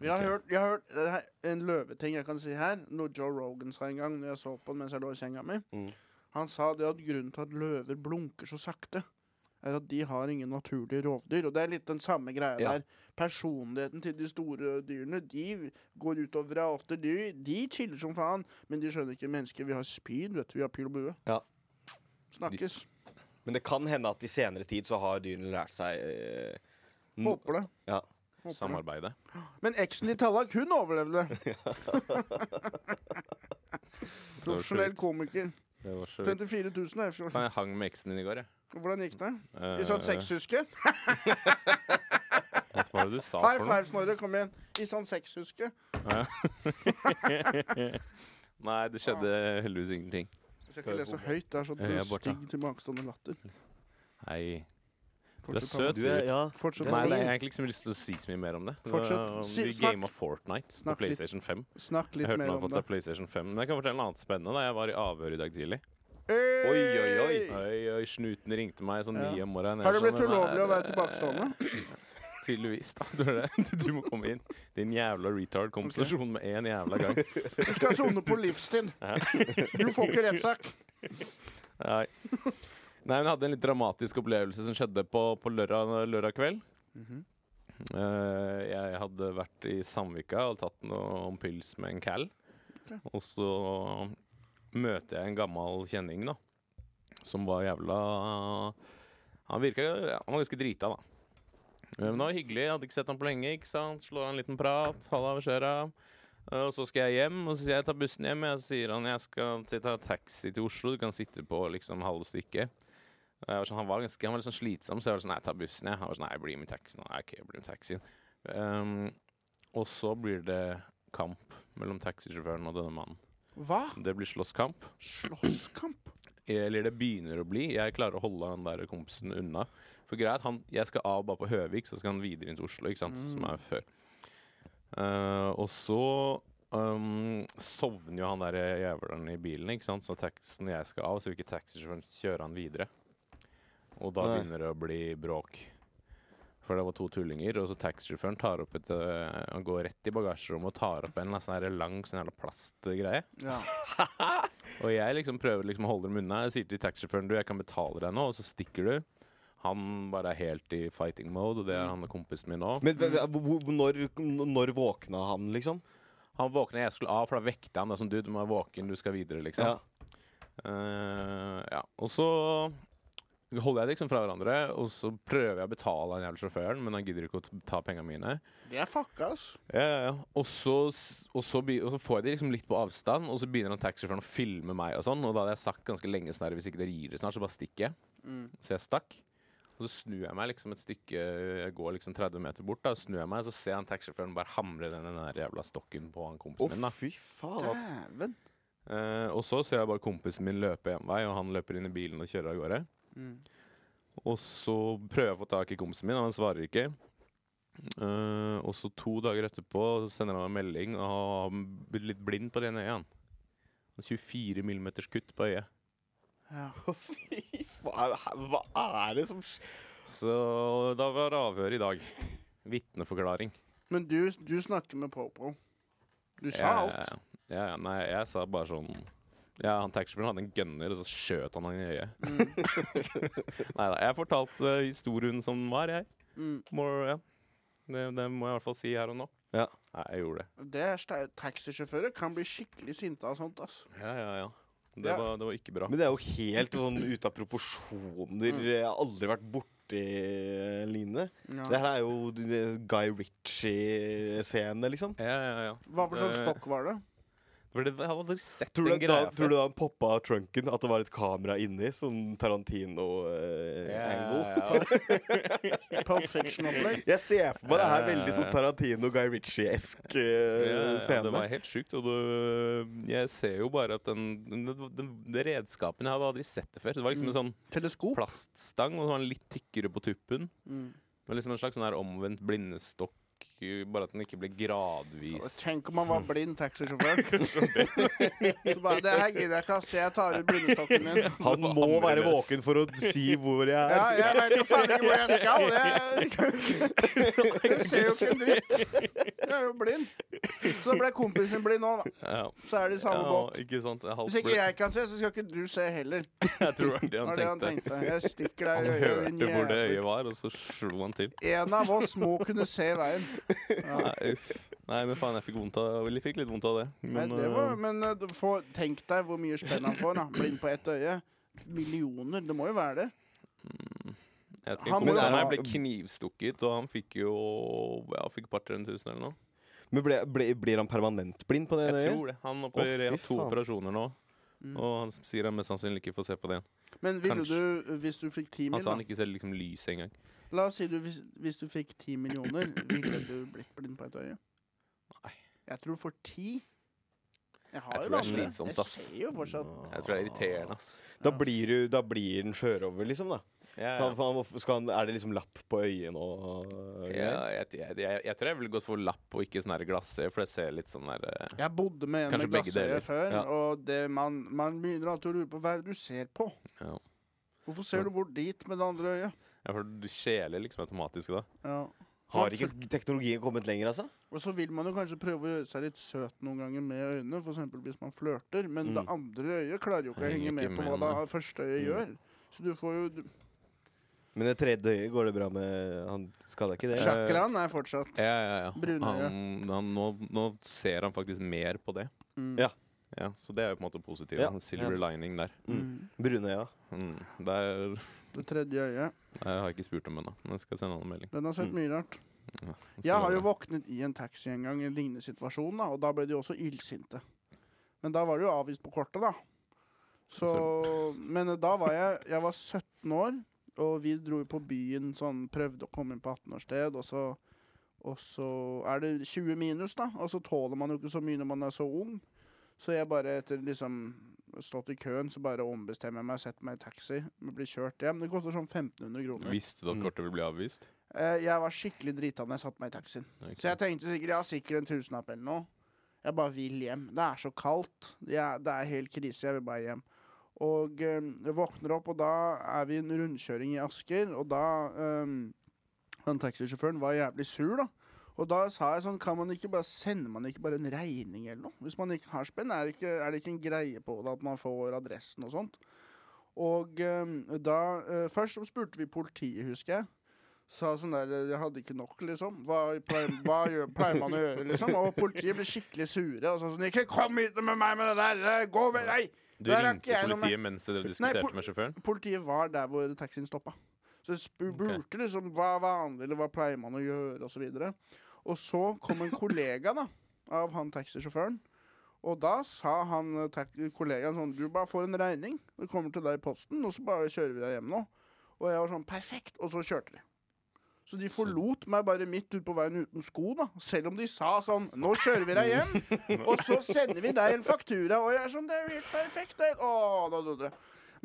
Jeg har hørt, jeg har hørt det
Mm.
her- en løveting jeg kan si her, noe Joe Rogan sa en gang når jeg så på den mens jeg lå i senga mi. Han sa det at grunnen til at løver blunker så sakte, er at de har ingen naturlige rovdyr. Og det er litt den samme greia
Ja.
der. Personligheten til de store dyrene, de går ut og vrater. De, de chiller som faen, men de skjønner ikke mennesker. Vi har spyd, vet du. Vi har pil og bue.
Ja.
Snakkes.
Men det kan hende at i senere tid så har dyrene lært seg eh, n-
Håper det.
Ja.
Håper det.
Samarbeide.
Men eksen til Tallak, hun overlevde. Profesjonell
sjukt.
komiker.
Det var så vidt.
34 000 er i fjor.
Faen, Jeg hang med eksen min i går, jeg.
Hvordan gikk det?
Eh,
I sånn sexhuske?
Hva var det du sa
High
for noe?
five, Snorre. Kom igjen. I sånn sexhuske.
Nei, det skjedde heldigvis ingenting.
Jeg skal ikke lese så høyt. Det er så
Ja, jeg er borte.
stygg tilbakestående latter.
Hei. Du er
Fortsett,
søt.
Tallak.
Du er,
ja.
Fortsett.
Nei,
Tallak.
det, jeg har egentlig ikke så lyst til å si så mye mer om det. Det var-
Fortsett. Si-
Vi
snakk.
gama Fortnite på
Snakk litt-
PlayStation 5.
Snakk
Jeg
litt
hørte
mer
man har
om
fått
det.
seg PlayStation 5. Men jeg kan fortelle noe annet spennende. da Jeg var i avhør i dag tidlig.
Oi, oi, oi.
Hey!
Oi, oi, Snuten ringte meg sånn
Ja.
ni om morgenen.
Har det
Jeg var
blitt
sånn,
ulovlig å
"Nei,
være tilbakestående?
Tydeligvis. da Du, er det. du må komme inn. Din jævla retard kom på
Ok.
stasjonen med en jævla gang.
Du skal sone på livstid. Du får ikke rettssak.
Nei. Nei, men Jeg hadde en litt dramatisk opplevelse som skjedde på, på lørdag, lørdag kveld. Eh, jeg hadde vært i Samvika og tatt noen pils med en cal.
Ok.
Og så møter jeg en gammel kjenning, da. Som var jævla Han virka ja, Han var ganske drita, da. Eh, Men det var hyggelig. Jeg hadde ikke sett han på lenge. ikke sant? Slår han en liten prat. Halla, hva skjer'a? Eh, Og så skal jeg hjem, og så sier jeg ta bussen hjem. Og så sier han jeg skal til- ta taxi til Oslo, du kan sitte på liksom halve stykket. Og jeg var sånn, han var ganske han var litt sånn slitsom, så jeg var sånn nei, ta bussen. Jeg. Han var sånn nei, jeg blir med taxien. Nei, ok, jeg blir med taxien. Ehm, og så blir det kamp mellom taxisjåføren og denne mannen.
Hva?
Det blir slåsskamp.
Slåsskamp?
Eller det begynner å bli. Jeg klarer å holde han der kompisen unna. For greit, han, jeg skal av bare på Høvik, så skal han videre inn til Oslo, ikke sant? som er før. Eh, og så um, sovner jo han der jævelen i bilen, ikke sant? så taxen jeg skal av, så vil ikke taxisjåføren kjøre han videre. Og da
Nei.
begynner det å bli bråk. For det var to tullinger, og så taxisjåføren tar opp et eh, Han går rett i bagasjerommet og tar opp en eller annen sånn her lang sånn jævla plastgreie.
Ja.
Og jeg liksom prøver liksom å holde dem unna. Jeg sier til taxisjåføren du, jeg kan betale deg nå, og så stikker du. Han bare er helt i fighting mode, og det er han og kompisen min òg.
Men hva- hva- hvor- hvor- når, når våkna han, liksom?
Han våkna, jeg skulle av, for da vekte han. Det er sånn, du, du må være våken, du skal videre, liksom.
Ja.
Eh, ja. Og så holder jeg det liksom fra hverandre, og så prøver jeg å betale han jævla sjåføren, men han gidder ikke å t- ta pengene mine.
Det er fucka, ass.
Ja, ja, ja. Og så, s- og, så, be- og så får jeg de liksom litt på avstand, og så begynner han taxisjåføren å filme meg. Og sånn Og da hadde jeg sagt ganske lenge sånn her, hvis ikke dere gir dere snart, så bare stikker jeg.
Mm.
Så jeg stakk. Og så snur jeg meg liksom et stykke Jeg går liksom 30 meter bort, da og snur jeg meg, så ser jeg han taxisjåføren bare hamre den, den der jævla stokken på han kompisen
Å,
min. da
fy faen.
Dæven.
Eh, Og så ser jeg bare kompisen min løpe en vei, og han løper inn i bilen og kjører av gårde.
Mm.
Og så prøver jeg å få tak i kompisen min, og han svarer ikke. Eh, og så to dager etterpå så sender han meg en melding, og han blir litt blind på det ene øyet. han. 24 millimeters kutt på øyet.
Ja.
Fy faen. Hva er det som skjer?
Så da var avhøret i dag. Vitneforklaring.
Men du, du snakker med PoPo. Du sa
Ja,
alt.
Ja, ja, nei, jeg sa bare sånn Ja, han taxisjåføren hadde en gunner, og så skjøt han han i øyet.
Mm.
nei da. Jeg fortalte eh, historien som var, jeg.
Mm.
More, ja. det, det må jeg i hvert fall si her og nå.
Ja.
Nei, jeg gjorde det.
Det er ste- Taxisjåfører kan bli skikkelig sinte av sånt. ass.
Ja, ja, ja. Det,
Ja.
Var, det var ikke bra.
Men det er jo helt sånn ute av
Mm.
proporsjoner. Jeg har aldri vært borti lignende. Det
Ja.
her er jo eh, Guy Ritchie-scene, liksom.
Ja, ja, ja.
Hva for slags
Det-
stokk var det?
For det, jeg hadde aldri sett
Tror
den
du, da,
greia
tror du da han poppa av trunken at det var et kamera inni? eh, Sånn Tarantino-angle?
Ja,
Pulp Fiction-opplegg?
Jeg ser for meg det
Ja,
her
ja, ja.
veldig sånn Tarantino, Guy Ritchie-esk eh,
ja, det
scene.
var helt sjukt. Og det, jeg ser jo bare at den, den, den, den redskapen Jeg hadde aldri sett det før. Det var liksom en sånn
Mm. Teleskop?
plaststang, og så var den litt tykkere på tuppen.
Mm.
Det var liksom En slags sånn her omvendt blindestokk, bare at den ikke ble
Og
gradvis
Tenk om han var blind taxisjåfør. Så bare, det her gidder jeg ikke, ass. Jeg tar ut blindestokken min.
han
det var
må være
annerledes.
våken for å si hvor jeg
Ja,
er.
jeg veit jo faen ikke hvor jeg skal. Jeg, jeg ser jo ikke en dritt. Jeg er jo blind. Så da ble kompisen blid nå, da.
Ja,
Så er de i samme
ja,
båt.
ikke sant. Halvt
Hvis ikke
ble-
jeg kan se, så skal ikke du se heller.
Jeg tror det var det
Det
han
var det han
tenkte.
tenkte. Jeg stikker
Han
deg i øyet, din
hørte hvor det
jævel.
øyet var, og så slo han til.
En av oss må kunne se veien. Ja.
Nei, uff. Nei, men faen, jeg fikk, vondt av, jeg fikk litt vondt av det.
Nei,
Men,
det var,
eh,
men eh, du får- tenk deg hvor mye spenn han får. da Blind på ett øye. Millioner. Det må jo være det.
jeg
han
tenker
må jo
kompisen
ha-
her ble knivstukket, og han fikk jo ja, han fikk et par-tre tusen eller noe.
Men ble, ble, blir han permanent blind på det
Jeg
øyet?
tror det. Han
Å, fy
opererer- har to
faen.
operasjoner nå,
Mm.
og han sier han mest sannsynlig ikke får se på det igjen.
Men ville
Kanskje.
du, hvis du fikk ti
Han sa han
millioner
ikke ser liksom lyset engang.
La oss si du, hvis, hvis du fikk ti millioner, ville du blitt blind på ett øye?
Nei.
Jeg tror for ti Jeg har
Jeg
jo
tror det er
vanlig.
slitsomt,
Jeg
ass.
ser jo fortsatt
Jeg tror det er irriterende, ass.
Da blir, du, da blir den skjørover, liksom. da
Ja,
Så
ja.
han, for han, hvorfor skal han, Er det liksom lapp på øyet nå?
Ja,
og greier?
jeg, jeg, jeg, jeg tror jeg ville gått for lapp og ikke sånn her glassøye, for det ser litt sånn der eh,
Jeg bodde med en
Kanskje
med
begge
glassøye
deler.
før,
Ja.
og det man, man begynner alltid å lure på hva er det du ser på.
Ja,
Hvorfor ser du bort dit med det andre øyet?
ja for du skjeler liksom automatisk da.
Ja.
Har ikke teknologien kommet lenger, altså?
Og så vil man jo kanskje prøve å gjøre seg litt søt noen ganger med øynene, f.eks. hvis man flørter, men det
Mm.
andre øyet klarer jo ikke å
Henger
henge med
ikke
på hva
med, Mm. nei.
det første øyet gjør. Så du får jo
Men det tredje øyet går det bra med? Han skada ikke det?
Ja.
Chakraen er fortsatt
Ja, ja, ja.
Brunøye.
Han, han, nå, nå ser han faktisk mer på det.
mm.
Ja.
Ja, så det er jo på en måte positivt.
Ja,
da. Silver lining der.
Mm.
Brunøya.
Mm. Det er,
Det tredje øyet.
jeg har ikke spurt om ennå, men jeg skal sende han en melding.
Den har sett
Mm.
mye rart.
Så
Jeg har jo
det-
våknet i en taxi en gang i en lignende situasjon, da, og da ble de også illsinte. Men da var det jo avvist på kortet, da. Så, men da var jeg Jeg var 17 år, og vi dro jo på byen sånn Prøvde å komme inn på 18-årssted, og så og så er det 20 minus, da. Og så tåler man jo ikke så mye når man er så ung. Så jeg bare etter liksom stått i køen, så bare ombestemmer jeg meg, setter meg i taxi, blir kjørt hjem. Det koster sånn 1500 kroner.
Visste du at kortet ville bli avvist?
Eh, Jeg var skikkelig drita når jeg satte meg i taxien.
Ikke
Så jeg
sant?
tenkte sikkert jeg har sikkert en tusenlapp eller noe. Jeg bare vil hjem. Det er så kaldt. Det er, det er helt krise. Jeg vil bare hjem. Og eh, jeg våkner opp, og da er vi i en rundkjøring i Asker. Og da eh, Han taxisjåføren var jævlig sur, da. Og da sa jeg sånn Kan man ikke bare sende man ikke bare en regning eller noe? Hvis man ikke har spenn, er det ikke, er det ikke en greie på det at man får adressen og sånt? Og eh, da eh, Først så spurte vi politiet, husker jeg sa sånn der Jeg hadde ikke nok, liksom. Hva pleier, hva gjør, pleier man å gjøre, liksom? Og politiet ble skikkelig sure. Og sa sånn Ikke kom hit med meg med det der! eh, Gå vei! Nei!
Du
Der er ikke
ringte
jeg noe med-
politiet mens dere diskuterte
pol-
med sjåføren?
Politiet var der hvor taxien stoppa. Så jeg sp- spurte liksom hva er vanlig, eller hva pleier man å gjøre, og så videre. Og så kom en kollega da, av han taxisjåføren. Og da sa han eh, tak- kollegaen sånn Du bare får en regning. Det kommer til deg i posten, og så bare kjører vi deg hjem nå. Og jeg var sånn Perfekt! Og så kjørte de. Så de forlot meg bare midt ute på veien uten sko, da. Selv om de sa sånn Nå kjører vi deg hjem, og så sender vi deg en faktura. Og jeg er sånn Det er jo helt perfekt! Det. Å, da døde det.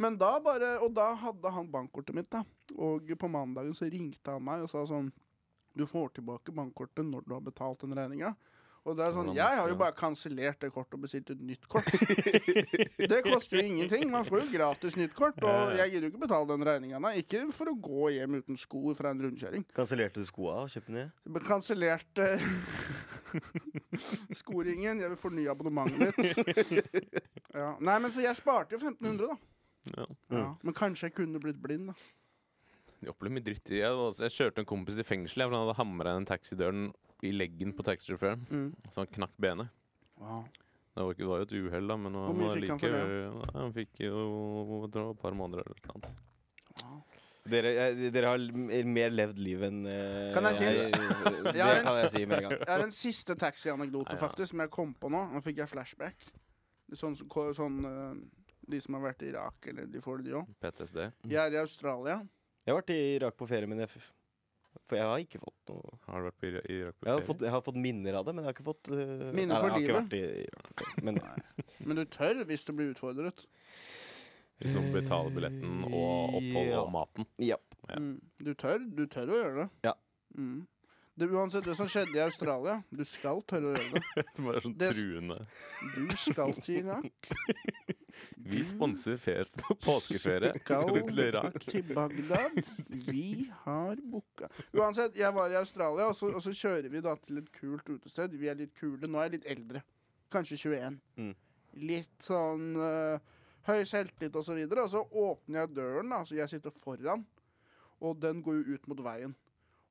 Men da bare Og da hadde han bankkortet mitt, da. Og på mandagen så ringte han meg og sa sånn Du får tilbake bankkortet når du har betalt den regninga. Og det er sånn,
Hvordan
Jeg har
visste
jo
du
bare kansellert det kortet og bestilt et nytt kort. Det koster jo ingenting. Man får jo gratis nytt kort. Og jeg gidder jo ikke betale den regninga, nei. Ikke for å gå hjem uten sko fra en rundkjøring.
Kansellerte du skoa og kjøpte nye?
Det ble Kansellert eh, skoringen. Jeg vil fornye abonnementet mitt. Ja. Nei, men så jeg sparte jo 1500, da.
Ja.
Ja. Men kanskje jeg kunne blitt blind, da.
De opplever mye dritt. Jeg, var også- jeg kjørte en kompis i fengsel, jeg, for han hadde hamra en taxidøren i leggen på taxisjåføren,
Mm.
så han knakk benet.
Wow.
Det var, ikke, det var jo et uhell, da, men han
mye
var
fikk han for det,
likevel- Nei, Han fikk jo jeg tror det var et par måneder eller noe annet.
Dere, jeg- dere har l- mer levd liv enn eh,
Kan jeg si en s-
Det
Jeg har en
kan jeg
s-
si med en gang.
Jeg har en siste taxianekdote
Ja, ja.
faktisk, som jeg kom på nå. Nå fikk jeg flashback. Sånn, som ko- sånn eh, De som har vært i Irak, eller de får det, de òg.
PTSD.
Jeg er i Australia.
Jeg har vært i Irak på ferie, men jeg, f- for jeg har ikke fått noe
Har du vært på Ira- Irak på
Jeg har
ferie?
fått, jeg har fått minner av det, men jeg har ikke fått eh,
Minner
nei,
for
jeg har
livet.
ikke vært i Irak på ferie, men
Men du tør hvis du blir utfordret.
Liksom betale billetten og oppholdet
Ja.
og maten.
ja.
Ja.
Mm. Du tør. Du tør å gjøre det.
Ja.
Mm. Det, uansett det som skjedde i Australia, du skal tørre å gjøre det.
Det var sånn
Det-
truende.
Du skal til Irak.
Vi sponser ferie på påskeferie. Skal du til
Go
Irak?
til Bagdad. Vi har booka Uansett, jeg var i Australia, og så, og så kjører vi da til et kult utested. Vi er litt kule. Nå er jeg litt eldre. Kanskje 21.
Mm.
Litt sånn eh, høy selvtillit og så videre. Og så åpner jeg døren, da, så jeg sitter foran, og den går jo ut mot veien.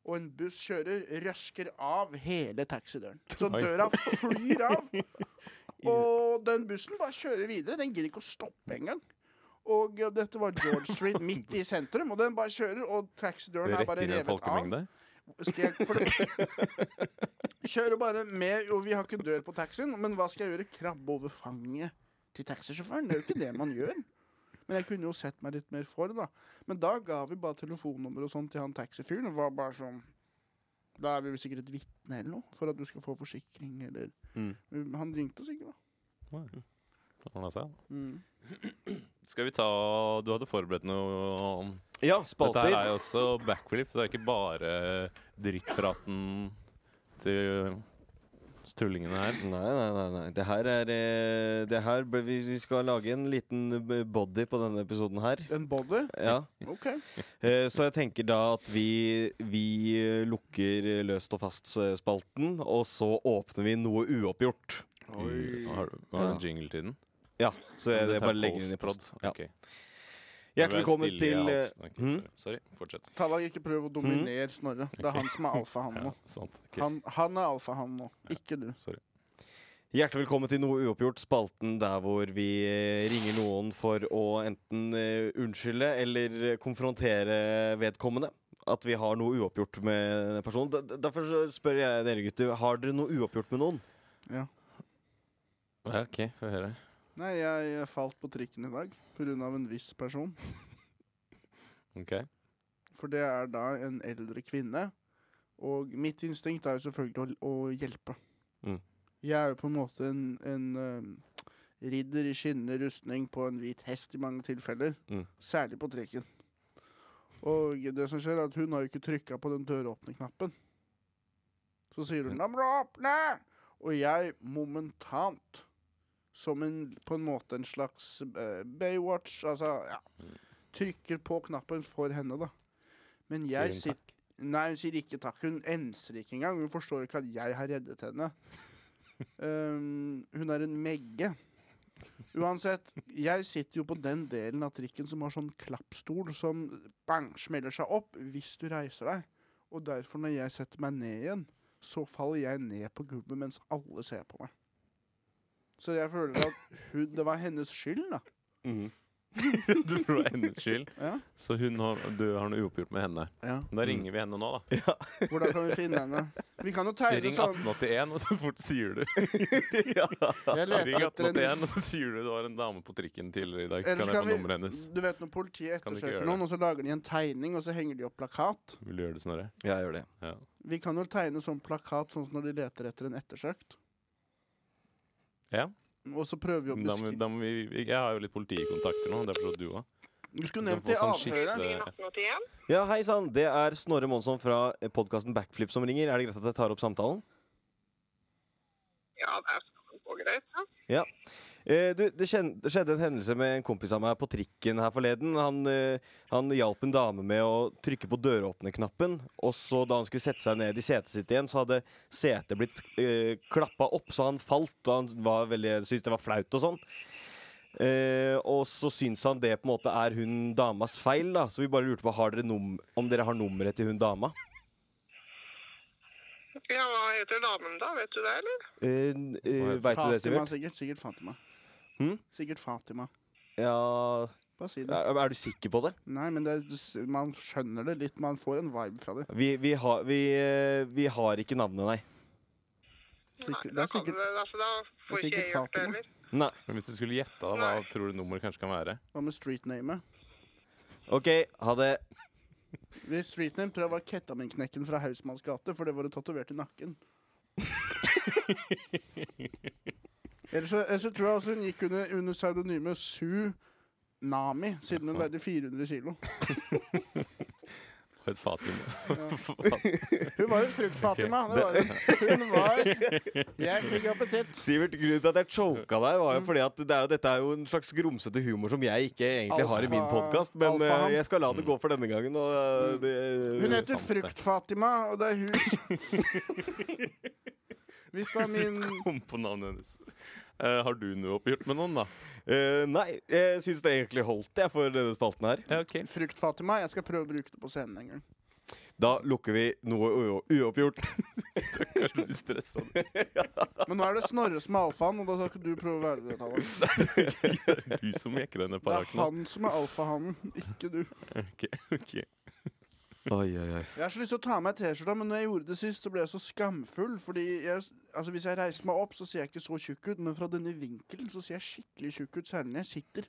Og en buss kjører, røsker av hele taxidøren. Så
Oi.
døra flyr av. Og den bussen bare kjører videre. Den gidder ikke å stoppe engang. Og eh, dette var George Street midt i sentrum, og den bare kjører. Og taxidøren
Det
er bare
rekker inn en
revet av.
folkemengde.
Skal jeg for det, Kjører bare med Jo, vi har ikke dør på taxien, men hva skal jeg gjøre? Krabbe over fanget til taxisjåføren? Det er jo ikke det man gjør. Men jeg kunne jo sett meg litt mer for, da. Men da ga vi bare telefonnummer og sånn til han taxifyren. Og var bare sånn Da er vi vel sikkert et vitne eller noe, for at du skal få forsikring, eller
Mm.
Han ringte oss ikke, da.
Ordnet seg.
Mm.
Skal vi ta Du hadde forberedt noe
Ja,
Dette
spalter.
her er jo også backflip, så det er ikke bare drittpraten til tullingene her.
Nei, nei, nei. nei. Det her er eh, Det her bør vi, vi skal lage en liten eh, body på denne episoden her.
En body?
Ja.
OK.
Eh, Så jeg tenker da at vi, vi eh, lukker eh, løst og fast-spalten, og så åpner vi noe uoppgjort.
I- Mm, Har, har du jingle til den?
Ja, så jeg,
Dette
jeg
er
bare legger den i
post-prod.
post. Ja.
Ok. Det ble
Hjertelig velkommen
stille i
til eh,
alt. Ok,
hm?
sorry. Sorry, fortsett.
Tallak, ikke prøv å dominere Snorre. Det er
Ok.
han som er alfa, han
Ja,
nå.
sant. Ok,
Han, han er alfa, han nå. Ikke du.
Sorry.
Hjertelig velkommen til Noe uoppgjort, spalten der hvor vi eh, ringer noen for å enten eh, unnskylde eller eh, konfrontere vedkommende. At vi har noe uoppgjort med den personen. Da- da- Derfor så spør jeg dere gutter, har dere noe uoppgjort med noen?
Ja, ok, Få høre.
Nei, jeg jeg falt på trikken i dag pga. en viss person.
Ok.
For det er da en eldre kvinne. Og mitt instinkt er jo selvfølgelig å, å hjelpe.
Mm.
Jeg er jo på en måte en, en eh, ridder i skinnende rustning på en hvit hest i mange tilfeller.
Mm.
Særlig på trikken. Og det som skjer, er at hun har jo ikke trykka på den døråpne-knappen. Så sier hun 'Da må du åpne!' Og jeg momentant, som en, på en måte en slags eh, Baywatch, altså ja, trykker på knappen for henne, da. Men jeg
hun
sitter Nei, hun sier ikke takk. Hun enser ikke engang. Hun forstår ikke at jeg har reddet henne. Ehm, hun er en megge. Uansett, jeg sitter jo på den delen av trikken som har sånn klappstol som bang, smeller seg opp hvis du reiser deg. Og derfor, når jeg setter meg ned igjen, så faller jeg ned på gulvet mens alle ser på meg. Så jeg føler at hun, det var hennes skyld, da.
Mhm.
Du tror det er hennes skyld,
Ja.
så hun har, du har noe uoppgjort med henne.
Mm.
Da ringer vi henne nå, da.
Hvordan kan vi finne henne? Vi kan jo tegne
Ring
sånn.
1881, og så fort sier du.
Jeg leter
Ring
etter en
1881, og så sier du det var en dame på trikken tidligere i dag.
Ellers
Kan jeg
kan
få
vi-
nummeret hennes?
Du vet når
Kan
politiet
du ikke
ettersøker
gjøre
noen,
det?
og så lager de en tegning, og så henger de opp plakat.
Vil du gjøre det, Snorre?
Ja, jeg gjør det.
Ja.
Vi kan jo tegne sånn plakat sånn som når de leter etter en ettersøkt.
Ja.
Og så prøver vi å
Men Da må,
beskrive
da må vi, jeg har jo litt politikontakter nå, derfor så du òg.
Du skulle
Du
nevnt
kan
det i
få sånn
avhøret.
skisse-
Ja, hei sann, det er Snorre Monsson fra podkasten Backflip som ringer. Er det greit at jeg tar opp samtalen?
Ja, det er så greit. Ja.
Eh, du, det, kjen det skjedde en hendelse med en kompis av meg på trikken her forleden. Han, eh, han hjalp en dame med å trykke på døråpneknappen. Og så da han skulle sette seg ned i setet sitt igjen, så hadde setet blitt eh, klappa opp, så han falt. Og han var veldig, syntes det var flaut og sånn. Eh, og så syns han det på en måte er hun damas feil, da. Så vi bare lurte på har dere num om dere har nummeret til hun dama.
ja, hva heter damen da? Vet du det, eller?
Eh, eh, Veit du
Fatima,
det, Sivert?
sikkert. Sikkert Fatima.
Hm?
Sikkert Fatima.
Ja,
Bare si det.
er er du sikker på det?
Nei, men det, er- man skjønner det litt. Man får en vibe fra det.
Vi, vi, har, vi, eh, vi har ikke navnet, nei.
Sikkert, det
da
er
kan du
sikkert
det. Altså, da får
sikkert
ikke jeg gjort det
Fatima.
heller.
Nei.
Men hvis du skulle gjette, da, hva tror du nummeret kanskje kan være?
Hva med streetnamet?
OK, ha det.
Hvis streetname tror jeg var Kettaminknekken fra Hausmanns gate, for det var det tatovert i nakken. ellers, så, ellers så tror jeg også hun gikk under, under pseudonymet Su Nami, siden hun veide 400 kilo.
Og et Fatima.
Hun var jo fruktfatima. Det var hun. hun var Jeg fikk appetitt.
Sivert, grunnen til at jeg choka der, var
Mm.
jo fordi at det er jo, dette er jo en slags grumsete humor som jeg ikke egentlig har i min
Alfa-
podkast, men
alfaham.
eh, jeg skal la det gå for denne gangen. Og, eh, det,
Hun heter
sant, det.
Fruktfatima, og det er hun Vitamin
Kom på navnet hennes. Eh, har du noe oppgjort med noen, da?
Eh, Nei, jeg syns det egentlig holdt jeg for denne spalten her.
Ja, ok.
Fruktfatima. Jeg skal prøve å bruke det på scenen en gang.
Da lukker vi noe u- uoppgjort.
Kanskje du blir stressa.
Men nå er det Snorre som er alfaen, og da skal ikke du prøve å være det. Tallak.
Du som jekker denne
Det er
paraken.
han som er alfahannen, ikke du.
Ok, ok.
Oi, oi, oi.
Jeg har så lyst til å ta av meg T-skjorta, men når jeg gjorde det sist, så ble jeg så skamfull. Fordi jeg, altså hvis jeg reiser meg opp, så ser jeg ikke så tjukk ut, men fra denne vinkelen så ser jeg skikkelig tjukk ut, særlig når jeg sitter.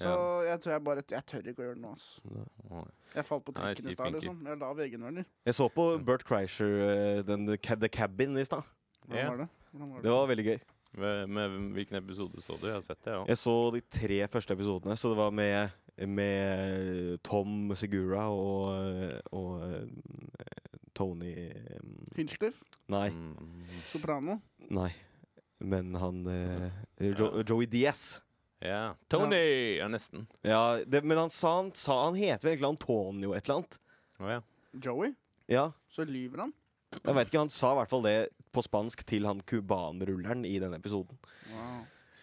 Så
Ja.
jeg tror jeg bare Jeg tør ikke å gjøre det nå, altså. Jeg falt på
Nei,
trikken i
si
stad,
finker.
liksom. Jeg lav egenverner.
Jeg så på Bert Kreischer, eh, den ca- The Cabin, i stad.
Hvordan
Ja.
var det? Hvordan var
Det var veldig gøy.
Med, med hvilken episode så du? Jeg har sett det, ja.
Jeg så de tre første episodene, så det var med, med Tom Segura og, og eh, Tony eh,
Hinchcliff?
Nei,
Mm,
Soprano?
nei. Men han eh, jo, Joey Diaz.
ja. Tony! Ja, nesten.
Ja, det, men han sa han, sa han heter vel egentlig Antonio et eller annet.
Å ja.
Joey?
Ja,
Så lyver han?
jeg vet ikke, Han sa i hvert fall det på spansk til han cubanrulleren i den episoden.
Wow.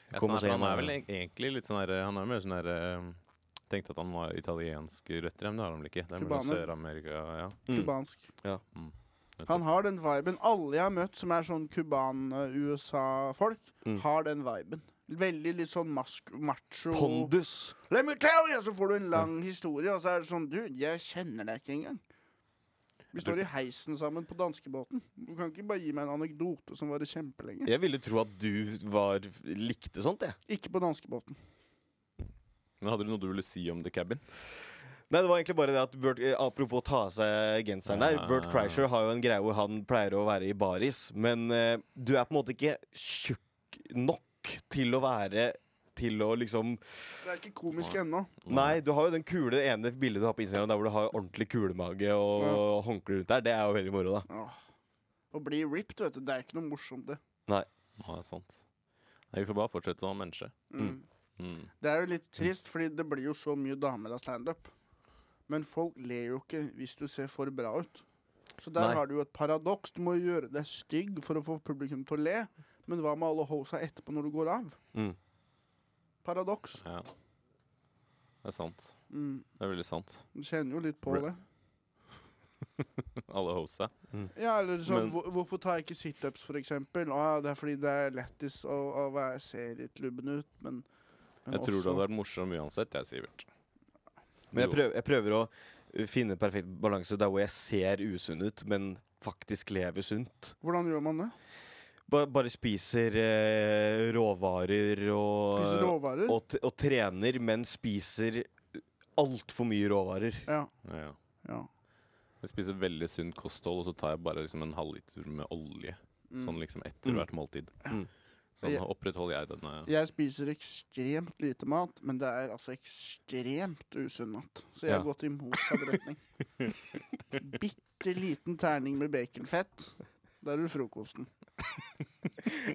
Jeg
Kom og
snakker-
se
han
henne.
er vel eg- egentlig litt sånn her Han er mer sånn her eh, Tenkte at han var italiensk røtter, men det har han vel ikke. Det er mellom
Kubaner.
Sør-Amerika, ja.
Mm.
Kubansk.
Ja.
Mm. Nettopp.
Han har den viben. Alle jeg har møtt som er sånn Cuban-USA-folk,
Mm.
har den viben. Veldig litt sånn mask macho
Pondus!
Let me tell you! Så får du en lang historie, og så er det sånn Du, jeg kjenner deg ikke engang. Vi står i heisen sammen på danskebåten. Du kan ikke bare gi meg en anekdote som varer kjempelenge.
Jeg ville tro at du var, likte sånt, jeg.
Ikke på danskebåten.
Men hadde du noe du ville si om The Cabin?
Nei, det var egentlig bare det at Bert, eh, Apropos å ta av seg genseren der.
Ah.
Bert Kreischer har jo en greie hvor han pleier å være i baris. Men eh, du er på en måte ikke tjukk nok til å være Til å liksom
Det er ikke komisk ennå.
Nei, du har jo den kule det ene bildet du har på Instagram der hvor du har ordentlig kulemage og håndkle rundt der. Det er jo veldig moro, da.
Åh. Å bli ripped, vet du, det er ikke noe morsomt, det.
Ja, det er sant. Nei, vi får bare fortsette å være mennesker.
Mm.
Mm.
Det er jo litt trist, fordi det blir jo så mye damer av standup. Men folk ler jo ikke hvis du ser for bra ut. Så der
Nei.
har du jo et paradoks. Du må jo gjøre deg stygg for å få publikum til å le. Men hva med alle hosa etterpå når du går av?
Mm.
Paradoks.
Ja. Det er sant.
Mm.
Det er veldig sant.
Du kjenner jo litt på
Re-
det.
Alle hosa.
Ja, eller sånn,
Men-
hvor- Hvorfor tar jeg ikke situps, for eksempel? Å, ja, det er fordi det er lættis å, å være, se litt lubben ut, men, men
Jeg tror du
også-
hadde vært morsom uansett, jeg, Sivert.
Men jeg
Jo.
prøver, jeg prøver å eh, finne perfekt balanse der hvor jeg ser usunn ut, men faktisk lever sunt.
Hvordan gjør man det?
Ba, bare spiser eh, råvarer og
Eh,
Spiser råvarer?
og, t og trener, men spiser altfor mye råvarer.
Ja.
Ja.
ja.
Jeg spiser veldig sunt kosthold, og så tar jeg bare liksom en halvliter med olje.
Mm.
Sånn liksom etter
Mm.
hvert måltid.
Mm.
Sånn
Jeg-
opprettholder jeg denne
Jeg spiser ekstremt lite mat, men det er altså ekstremt usunn mat. Så jeg har
Ja.
gått i motsatt retning. Bitte liten terning med baconfett. Der er du frokosten.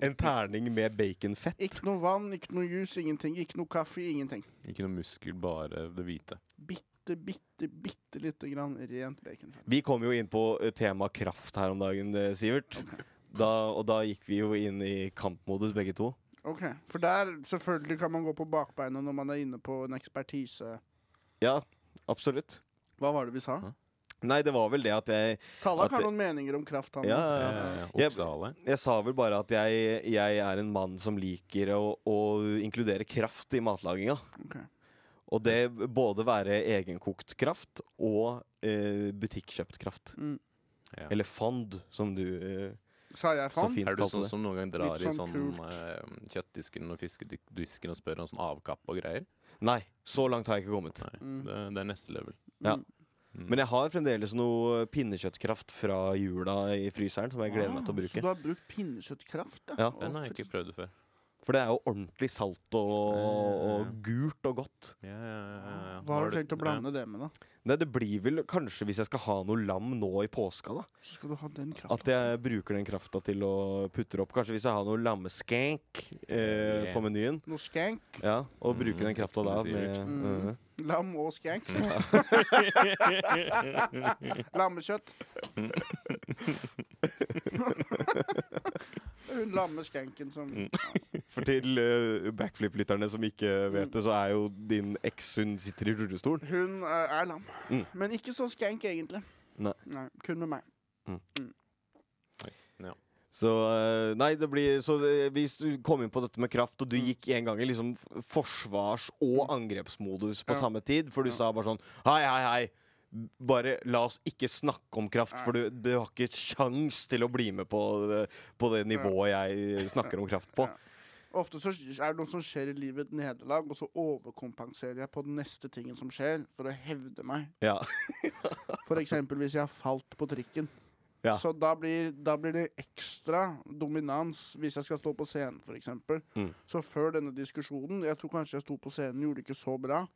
En terning med baconfett.
Ikke noe vann, ikke noe juice, ingenting. Ikke noe kaffe, ingenting.
Ikke noe muskel, bare det hvite.
Bitte, bitte, bitte lite grann rent baconfett.
Vi kom jo inn på eh, tema kraft her om dagen, eh, Sivert. Da, og da gikk vi jo inn i kampmodus, begge to.
Ok, For der selvfølgelig kan man gå på bakbeinet når man er inne på en ekspertise.
Ja, absolutt.
Hva var det vi sa?
Nei, det var vel det at jeg
Tallak
At
har
det-
noen meninger om krafthandel.
Ja, ja, ja.
Eh,
Jeg-
Oksehale.
Jeg sa vel bare at jeg, jeg er en mann som liker å, å inkludere kraft i matlaginga.
Ok.
Og det både være egenkokt kraft og eh, butikkjøpt kraft.
Mm.
Ja.
Eller fond, som du eh,
Sa jeg
så
faen?
fint
Er du
kalte
sånn
det.
som noen gang drar
Litt
i
sånn
sånn eh, kjøttdisken og fiskedisken og spør om sånn avkapp og greier?
Nei, så langt har jeg ikke kommet.
Nei,
Mm.
det, det er neste level.
Ja.
Mm.
Mm.
Men jeg har fremdeles noe pinnekjøttkraft fra jula i fryseren som jeg gleder meg til å
Ah, Så
bruke.
du har brukt pinnekjøttkraft?
Ja.
Å,
Den har jeg
fy
ikke prøvd før.
For det er jo ordentlig salt og, og gult og godt.
Ja, ja, ja, ja.
Hva har du tenkt å blande det med, da?
Nei, det blir vel kanskje hvis jeg skal ha noe lam nå i påska, da.
Så skal du ha den kraften.
At jeg bruker den krafta til å putte opp. Kanskje hvis jeg har noe lammeskank eh,
Yeah.
på menyen.
Noe skank.
Ja, og
Mm,
bruker den krafta
som
da.
du sier.
Med,
Mm.
eh,
Lam og skank. Lammekjøtt. Det er Hun lammeskanken som
Mm. For til eh, backflip-lytterne som ikke vet det, så er jo din eks hun sitter i rullestol.
Hun eh, er lam.
Mm.
Men ikke så skank, egentlig.
Nei.
kun med meg.
Nice. Ja.
Så eh, nei, det blir Så eh, vi s- kom inn på dette med kraft,
Mm.
og du gikk en gang i liksom f- forsvars- og angrepsmodus på
Ja.
samme tid. For du
Ja.
sa bare sånn Hei, hei, hei. Bare la oss ikke snakke om kraft, for du, du har ikke kjangs til å bli med på det, på det nivået jeg eh, snakker om kraft på.
Ja. Ofte så er det noe som skjer i livet, et nederlag, og så overkompenserer jeg på den neste tingen som skjer, for å hevde meg.
Ja.
For eksempel hvis jeg har falt på trikken.
Ja.
Så da blir, da blir det ekstra dominans hvis jeg skal stå på scenen, for eksempel.
Mm.
Så før denne diskusjonen Jeg tror kanskje jeg sto på scenen, gjorde det ikke så bra.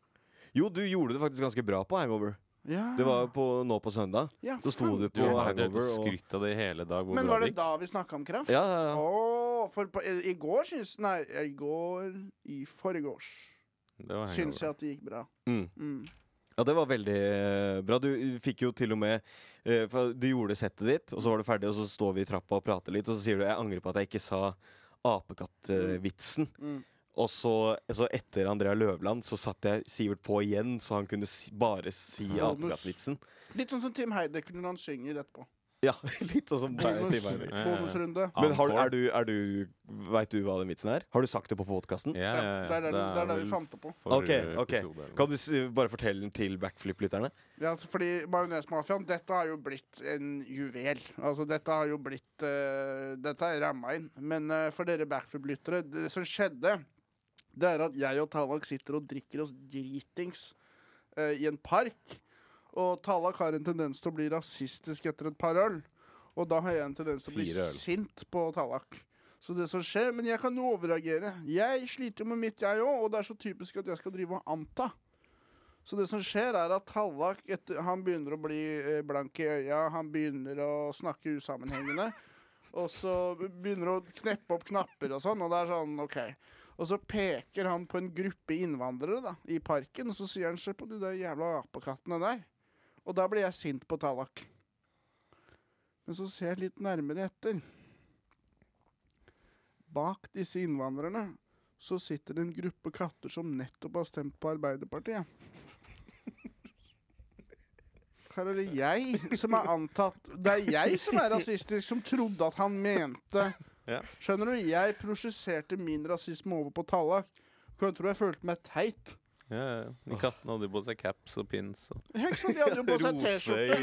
Jo, du gjorde det faktisk ganske bra på Hangover.
Ja.
Det var jo på, nå på søndag.
ja,
Så sto
faen.
du
Du
på
har drevet
Hangover.
og
Og,
skrytt av det i hele dag. Hvor
Men
bra
var det
gikk.
da vi snakka om kraft?
ja, ja, ja.
Åh, for på, eh, i, i går syns Nei, i går I forgårs
Det var hangover.
syns jeg at det gikk bra.
Mm.
Mm.
Ja, det var veldig eh, bra. Du fikk jo til og med eh, for Du gjorde settet ditt, og så var du ferdig, og så står vi i trappa og prater litt, og så sier du 'jeg angrer på at jeg ikke sa apekattvitsen'.
Mm.
Og så, så etter Andrea Løvland så satte jeg Sivert på igjen, så han kunne si, bare si
Bonus.
apekattvitsen.
Litt sånn som Tim Heidecker når han synger etterpå.
Ja, litt sånn som deg.
Bonus,
til
Ja,
meg.
ja, ja.
bonusrunde.
Men har,
Encore.
er du, er du Veit du hva den vitsen er? Har du sagt det på podkasten?
Ja, ja, ja.
Det er der, det er der
vel
vi fant det på.
forrige
Ok, ok.
episode eller noe.
Kan du s bare fortelle den til backflip-lytterne?
Ja, altså, fordi Majonesmafiaen, dette har jo blitt en juvel. Altså, dette har jo blitt eh, Dette er ramma inn. Men eh, for dere backflip-lyttere, det som skjedde, det er at jeg og Tallak sitter og drikker oss dritings eh, i en park. Og Tallak har en tendens til å bli rasistisk etter et par øl. Og da har jeg en tendens til å bli
Fire øl.
sint på Tallak. Så det som skjer, Men jeg kan jo overreagere. Jeg sliter jo med mitt, jeg òg. Og det er så typisk at jeg skal drive og anta. Så det som skjer, er at Tallak etter, han begynner å bli eh, blank i øya. Han begynner å snakke usammenhengende. Og så begynner å kneppe opp knapper og sånn. Og det er sånn, OK. Og så peker han på en gruppe innvandrere da, i parken, og så sier han se på de der jævla apekattene der. Og da blir jeg sint på Tallak. Men så ser jeg litt nærmere etter. Bak disse innvandrerne så sitter det en gruppe katter som nettopp har stemt på Arbeiderpartiet. Her er det jeg som er antatt Det er jeg som er rasistisk, som trodde at han mente
Ja.
Skjønner du? Jeg prosjiserte min rasisme over på Tallak. Kan du tro jeg følte meg teit?
Ja, ja. De kattene hadde jo på seg caps og pins. Og
Ja, Ikke sant? De hadde jo på seg T-skjorte.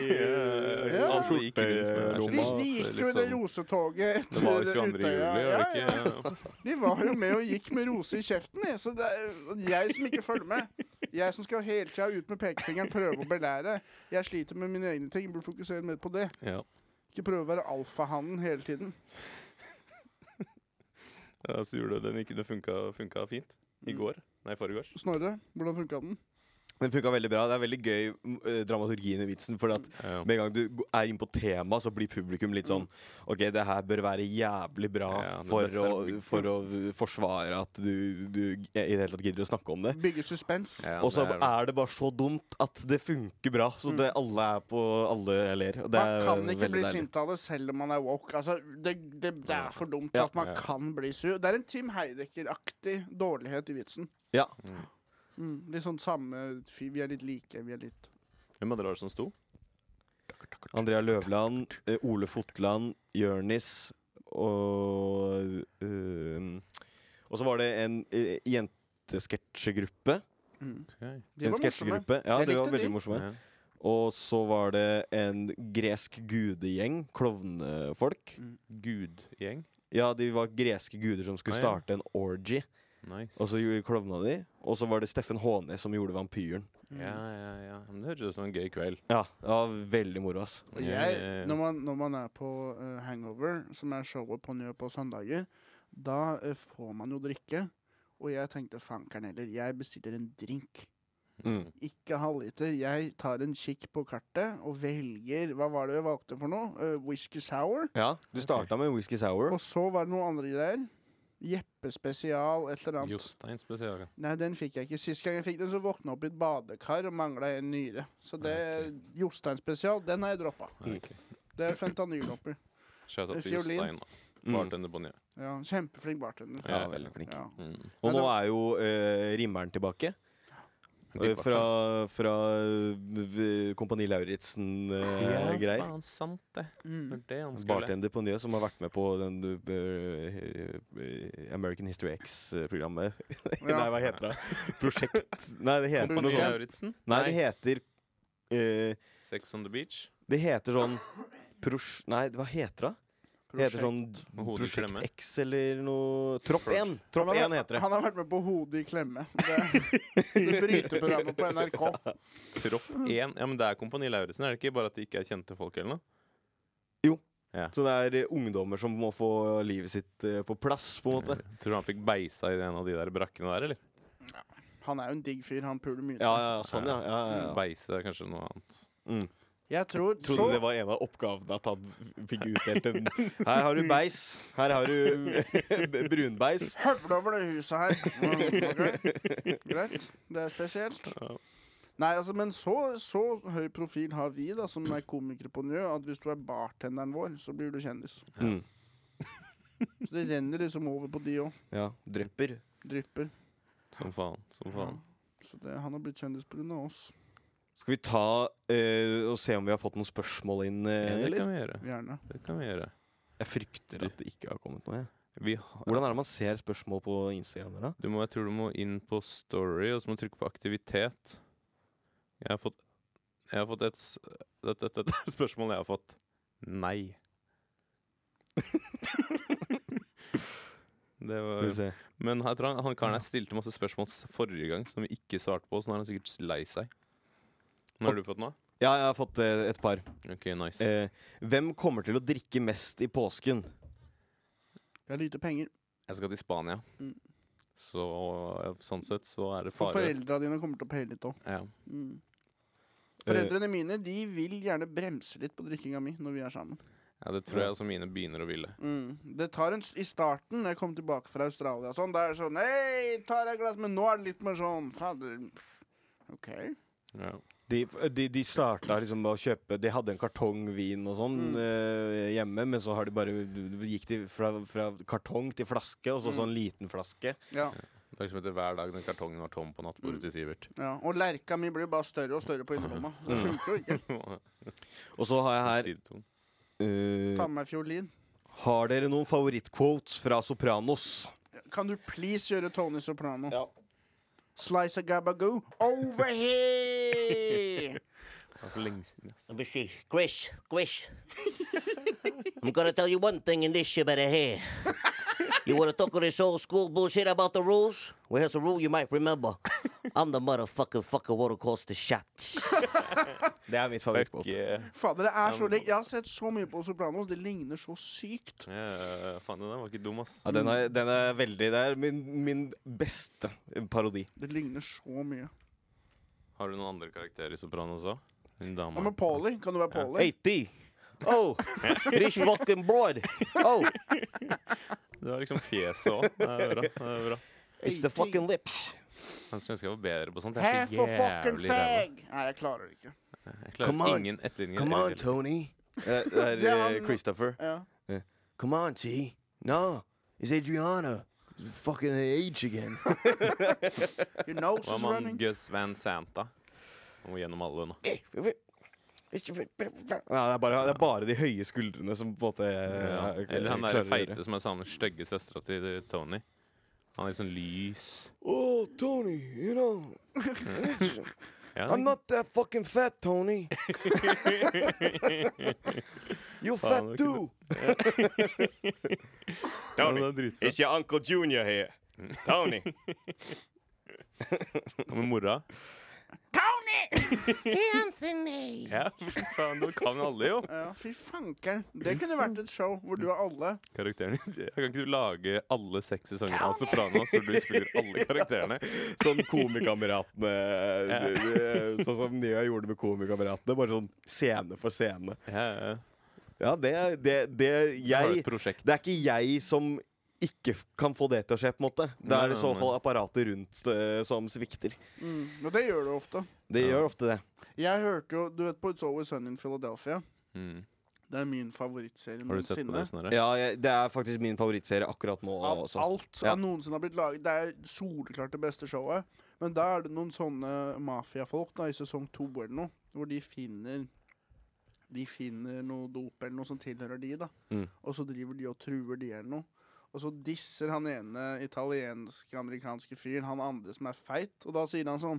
Ja.
Alle gikk rundt med hver sin
De
mat,
snikte jo i det
liksom.
rosetoget
Det var 22.
etter
juli,
Utøya.
var det
Ja, ja.
ikke?
De var jo med og gikk med rose i kjeften, jeg. så det er jeg som ikke følger med. Jeg som skal hele tida ut med pekefingeren, prøve å belære. Jeg sliter med mine egne ting, burde fokusere mer på det.
Ja. Ja.
Ikke prøve å være alfahannen hele tiden.
Ja, så gjorde du den ikke. Det funka, funka fint. I går. Nei, foregårs.
Snorre, hvordan funka den?
Den funka veldig bra. Det er veldig gøy m, eh, dramaturgien i vitsen. For at
Ja.
Med en gang du g- er inne på tema, så blir publikum litt sånn OK, det her bør være jævlig bra
Mm. Ja, det
for,
beste er
å,
publikum.
for å forsvare at du, du g- i det hele tatt gidder å snakke om det.
Bygge suspens.
Ja,
Og så
det er- Mm.
er det bare så dumt at det funker bra. Så det, alle er på Alle ler. Og det
Man
er
kan ikke
veldig
bli
deilig.
sint av det selv om man er woke. Altså, det, det, det er for dumt
Ja.
at man
Ja.
kan bli sur. Det er en Tim Heidecker-aktig dårlighet i vitsen.
Ja.
Mm, litt sånn samme fy, Vi er litt like, vi er litt
Hvem av dere var det som sto?
Andrea Løvland, eh, Ole Fotland, Jørnis og eh, Og så var det en uh, jentesketsjegruppe.
mm.
Okay.
De var
en
morsomme.
sketsjegruppe. Ja,
Jeg
de var
likte de.
veldig morsomme.
Ja.
Og så var det en gresk gudegjeng, klovnefolk.
Mm.
Gudgjeng.
Ja, de var greske guder som skulle
Ah, ja.
starte en orgy,
Nice.
og så gjorde klovna de. Og så var det Steffen Hånes som gjorde vampyren.
ja, ja, ja. Men det høres ut som en gøy kveld.
Ja, det var veldig moro, ass.
Og
Ja,
jeg,
ja, ja.
eh, når, man, når man er på eh, Hangover, som er showet på Njø på søndager, Da eh, får man jo drikke. Og jeg tenkte fankeren heller, jeg bestiller en drink.
Mm.
Ikke halvliter. Jeg tar en kikk på kartet og velger Hva var det jeg valgte for noe? Eh, whisky sour.
Ja, du starta med whisky sour.
Og så var det noen andre greier. Jeppe spesial, et eller annet.
Jostein spesial.
Nei, den fikk jeg ikke. Sist gang jeg fikk den, så våkna jeg opp i et badekar og mangla en nyre. Så det Jostein spesial, den har jeg droppa.
Okay.
Det er fentanyl oppi.
Shout out til
Fiolin.
Jostein. da.
Mm.
Bartender på nye.
Ja, kjempeflink bartender.
Ja, veldig flink.
Ja.
Mm.
Og nå er jo eh, rimmeren tilbake. eh, fra fra eh, Kompani
eh,
eh, Lauritzen-greier.
faen, sant det.
Mm.
det han
Bartender på Njø som har vært med på den eh, American History X-programmet. Nei,
Ja.
hva heter det? Prosjekt Nei, det heter noe
Kompani
sånt.
Lauritzen?
Nei, det heter eh,
Sex on the beach?
Det heter sånn prosj... Nei, hva heter det? Det heter sånn
Med hodet i klemme.
Prosjekt X eller noe Tropp 1! Tropp
Han har,
1
vært,
heter det.
han har vært med på Hodet i klemme. Det, det bryteprogrammet på NRK.
Tropp 1? Ja, men det er Kompani Lauritzen, er det ikke? Bare at det ikke er kjente folk eller noe?
Så det er eh, ungdommer som må få livet sitt eh, på plass, på en måte.
Tror du han fikk beisa i en av de der brakkene der, eller?
Han er jo en digg fyr. Han puler mye.
Ja, ja, ja, sånn, ja. ja, ja, ja.
Beise er kanskje noe annet.
Mm.
Jeg tror
Trodde
så
det var en av oppgavene at han fikk utdelt en Her har du beis, her har du b- brunbeis.
Høvle over det huset her. Ok, Greit. Det er spesielt. Nei, altså, men så, så høy profil har vi, da, som er komikere på Njø, at hvis du er bartenderen vår, så blir du kjendis.
Mm.
Så det renner liksom over på de òg.
Ja, drypper.
Drypper.
Som faen. Som faen.
Så det, han har blitt kjendis pga. oss.
Skal vi ta eh, og se om vi har fått noen spørsmål inn, eh,
Ja, det
eller?
kan vi gjøre.
Gjerne.
Det kan vi gjøre.
Jeg frykter at det ikke har kommet noe. jeg.
Vi har
Hvordan er det man ser spørsmål på Instagram? dere,
Du må, jeg tror du må inn på story, og så må du trykke på aktivitet. Jeg har fått Jeg har fått et s- Dette dette- dette er spørsmålet jeg har fått. Nei. Det
da? Skal vi
var,
se.
men jeg tror han, han karen her stilte masse spørsmål s- forrige gang som vi ikke svarte på, så nå er han sikkert s- lei seg. Nå har du fått noe?
Ja, jeg har fått eh, et par.
OK, nice.
Eh, hvem kommer til å drikke mest i påsken?
Jeg har lite penger.
Jeg skal til Spania.
Mm.
Så sånn sett så er det
For
fare.
foreldra dine kommer til å paye litt òg.
Ja.
Mm.
Eh.
Foreldrene mine de vil gjerne bremse litt på drikkinga mi når vi er sammen.
ja, det tror jeg også mine begynner å ville.
Mm. Det tar en, s- I starten, når jeg kom tilbake fra Australia, og sånn, da er det sånn Hei, tar jeg et glass? Men nå er det litt mer sånn Fader. OK.
Ja.
De, de, de starta liksom med å kjøpe De hadde en kartong vin og sånn
Mm.
eh, hjemme, men så har de bare gikk de fra, fra kartong til flaske, og så
Mm.
sånn liten flaske.
Ja.
Det er ikke som heter hver dag den kartongen var tom på nattbordet til Sivert.
ja. Og lerka mi blir jo bare større og større på innerlomma. Så Det funker jo ikke.
Og så har jeg her
Sidetung.
Ta
eh,
med meg fiolin.
Har dere noen favorittquotes fra Sopranos?
Kan du please gjøre Tony Soprano?
Ja.
Slice a gabagoo over here!
Det er for lenge siden, ass.
This is Chris, Chris. I'm gonna tell you one thing in this shit better here. You wanna talk all this old school bullshit about the rules? Well, here's a rule you might remember. I'm the motherfucking fucker what calls the shots.
Det er mitt
Fuck
favorittquote.
yeah.
Fader, det er så likt. Jeg har sett så mye på Sopranos. Det ligner så sykt.
Ja, faen, den der var ikke dum, ass.
Ja, den, er, den er veldig Det er min, min beste parodi.
Det ligner så mye.
Har du noen andre karakterer i Sopranos òg? Hun
Hva
dama.
med Polly? Kan du være Polly?
80!
Oh, this fucking broad. Oh,
Du har liksom fjeset òg. Det er bra. det er bra.
it's the fucking lips.
Han skulle ønske jeg var bedre på sånt. Jeg er
Half
så
a fucking
jævlig ræva.
fag! Nei, jeg klarer det ikke.
Jeg
Come
klarer
on.
ingen etterligninger.
Come on,
Jeg-
Tony.
Det er,
Det er
eh,
han-
Christopher.
Ja.
Come on, T. No, it's Adriana. It's fucking her age again.
Your nose
Hva
is
med han
running.
Gus Van Santa? Han må gjennom alle nå.
Ja, det, er bare, det er bare de høye skuldrene som på en måte
Ja.
eh,
Eller han
klarer
der
å gjøre
feite som er sammen med stygge søstera til Tony. Han er litt sånn lys.
Oh, Tony, you know,
Ja,
I'm not that fucking fat, Tony. you
Fan, det kunne-
fat too.
Ja, det er dritbra.
your Uncle Junior here. Tony.
Hva med mora?
Tony!
Anthony!
Ja, for faen, du kan alle jo.
Ja, fy fankeren. Det kunne vært et show hvor du har alle.
Karakterene. Jeg kan ikke du lage alle seks sesonger av Sopranos hvor du spiller alle karakterene?
Sånn eh, Komikameratene
Ja.
d- d- Sånn som Nia gjorde med Komikameratene. Bare sånn scene for scene.
Ja, ja.
Ja, det, det, det
Har du
Jeg
et prosjekt?
Det er ikke jeg som ikke f- kan få det til å skje, på en måte. Det
Nei,
er i
nei,
så
nei.
fall apparatet rundt eh, som svikter.
Mm. Og det gjør du ofte.
Det
Ja.
gjør ofte det.
Jeg hørte jo Du vet på It's Always Sunny in Philadelphia?
Mm.
Det er min favorittserie
Har du sett på
noensinne.
det, Snorre?
Ja, jeg, det er faktisk min favorittserie akkurat nå
Av
også.
alt som
Ja.
noensinne har blitt laget. Det er soleklart det beste showet. Men da er det noen sånne mafiafolk da, i sesong to eller noe, hvor de finner De finner noe dop eller noe som tilhører de, da.
Mm.
Og så driver de og truer de eller noe. Og så disser han ene italiensk-amerikanske fyren han andre som er feit, og da sier han sånn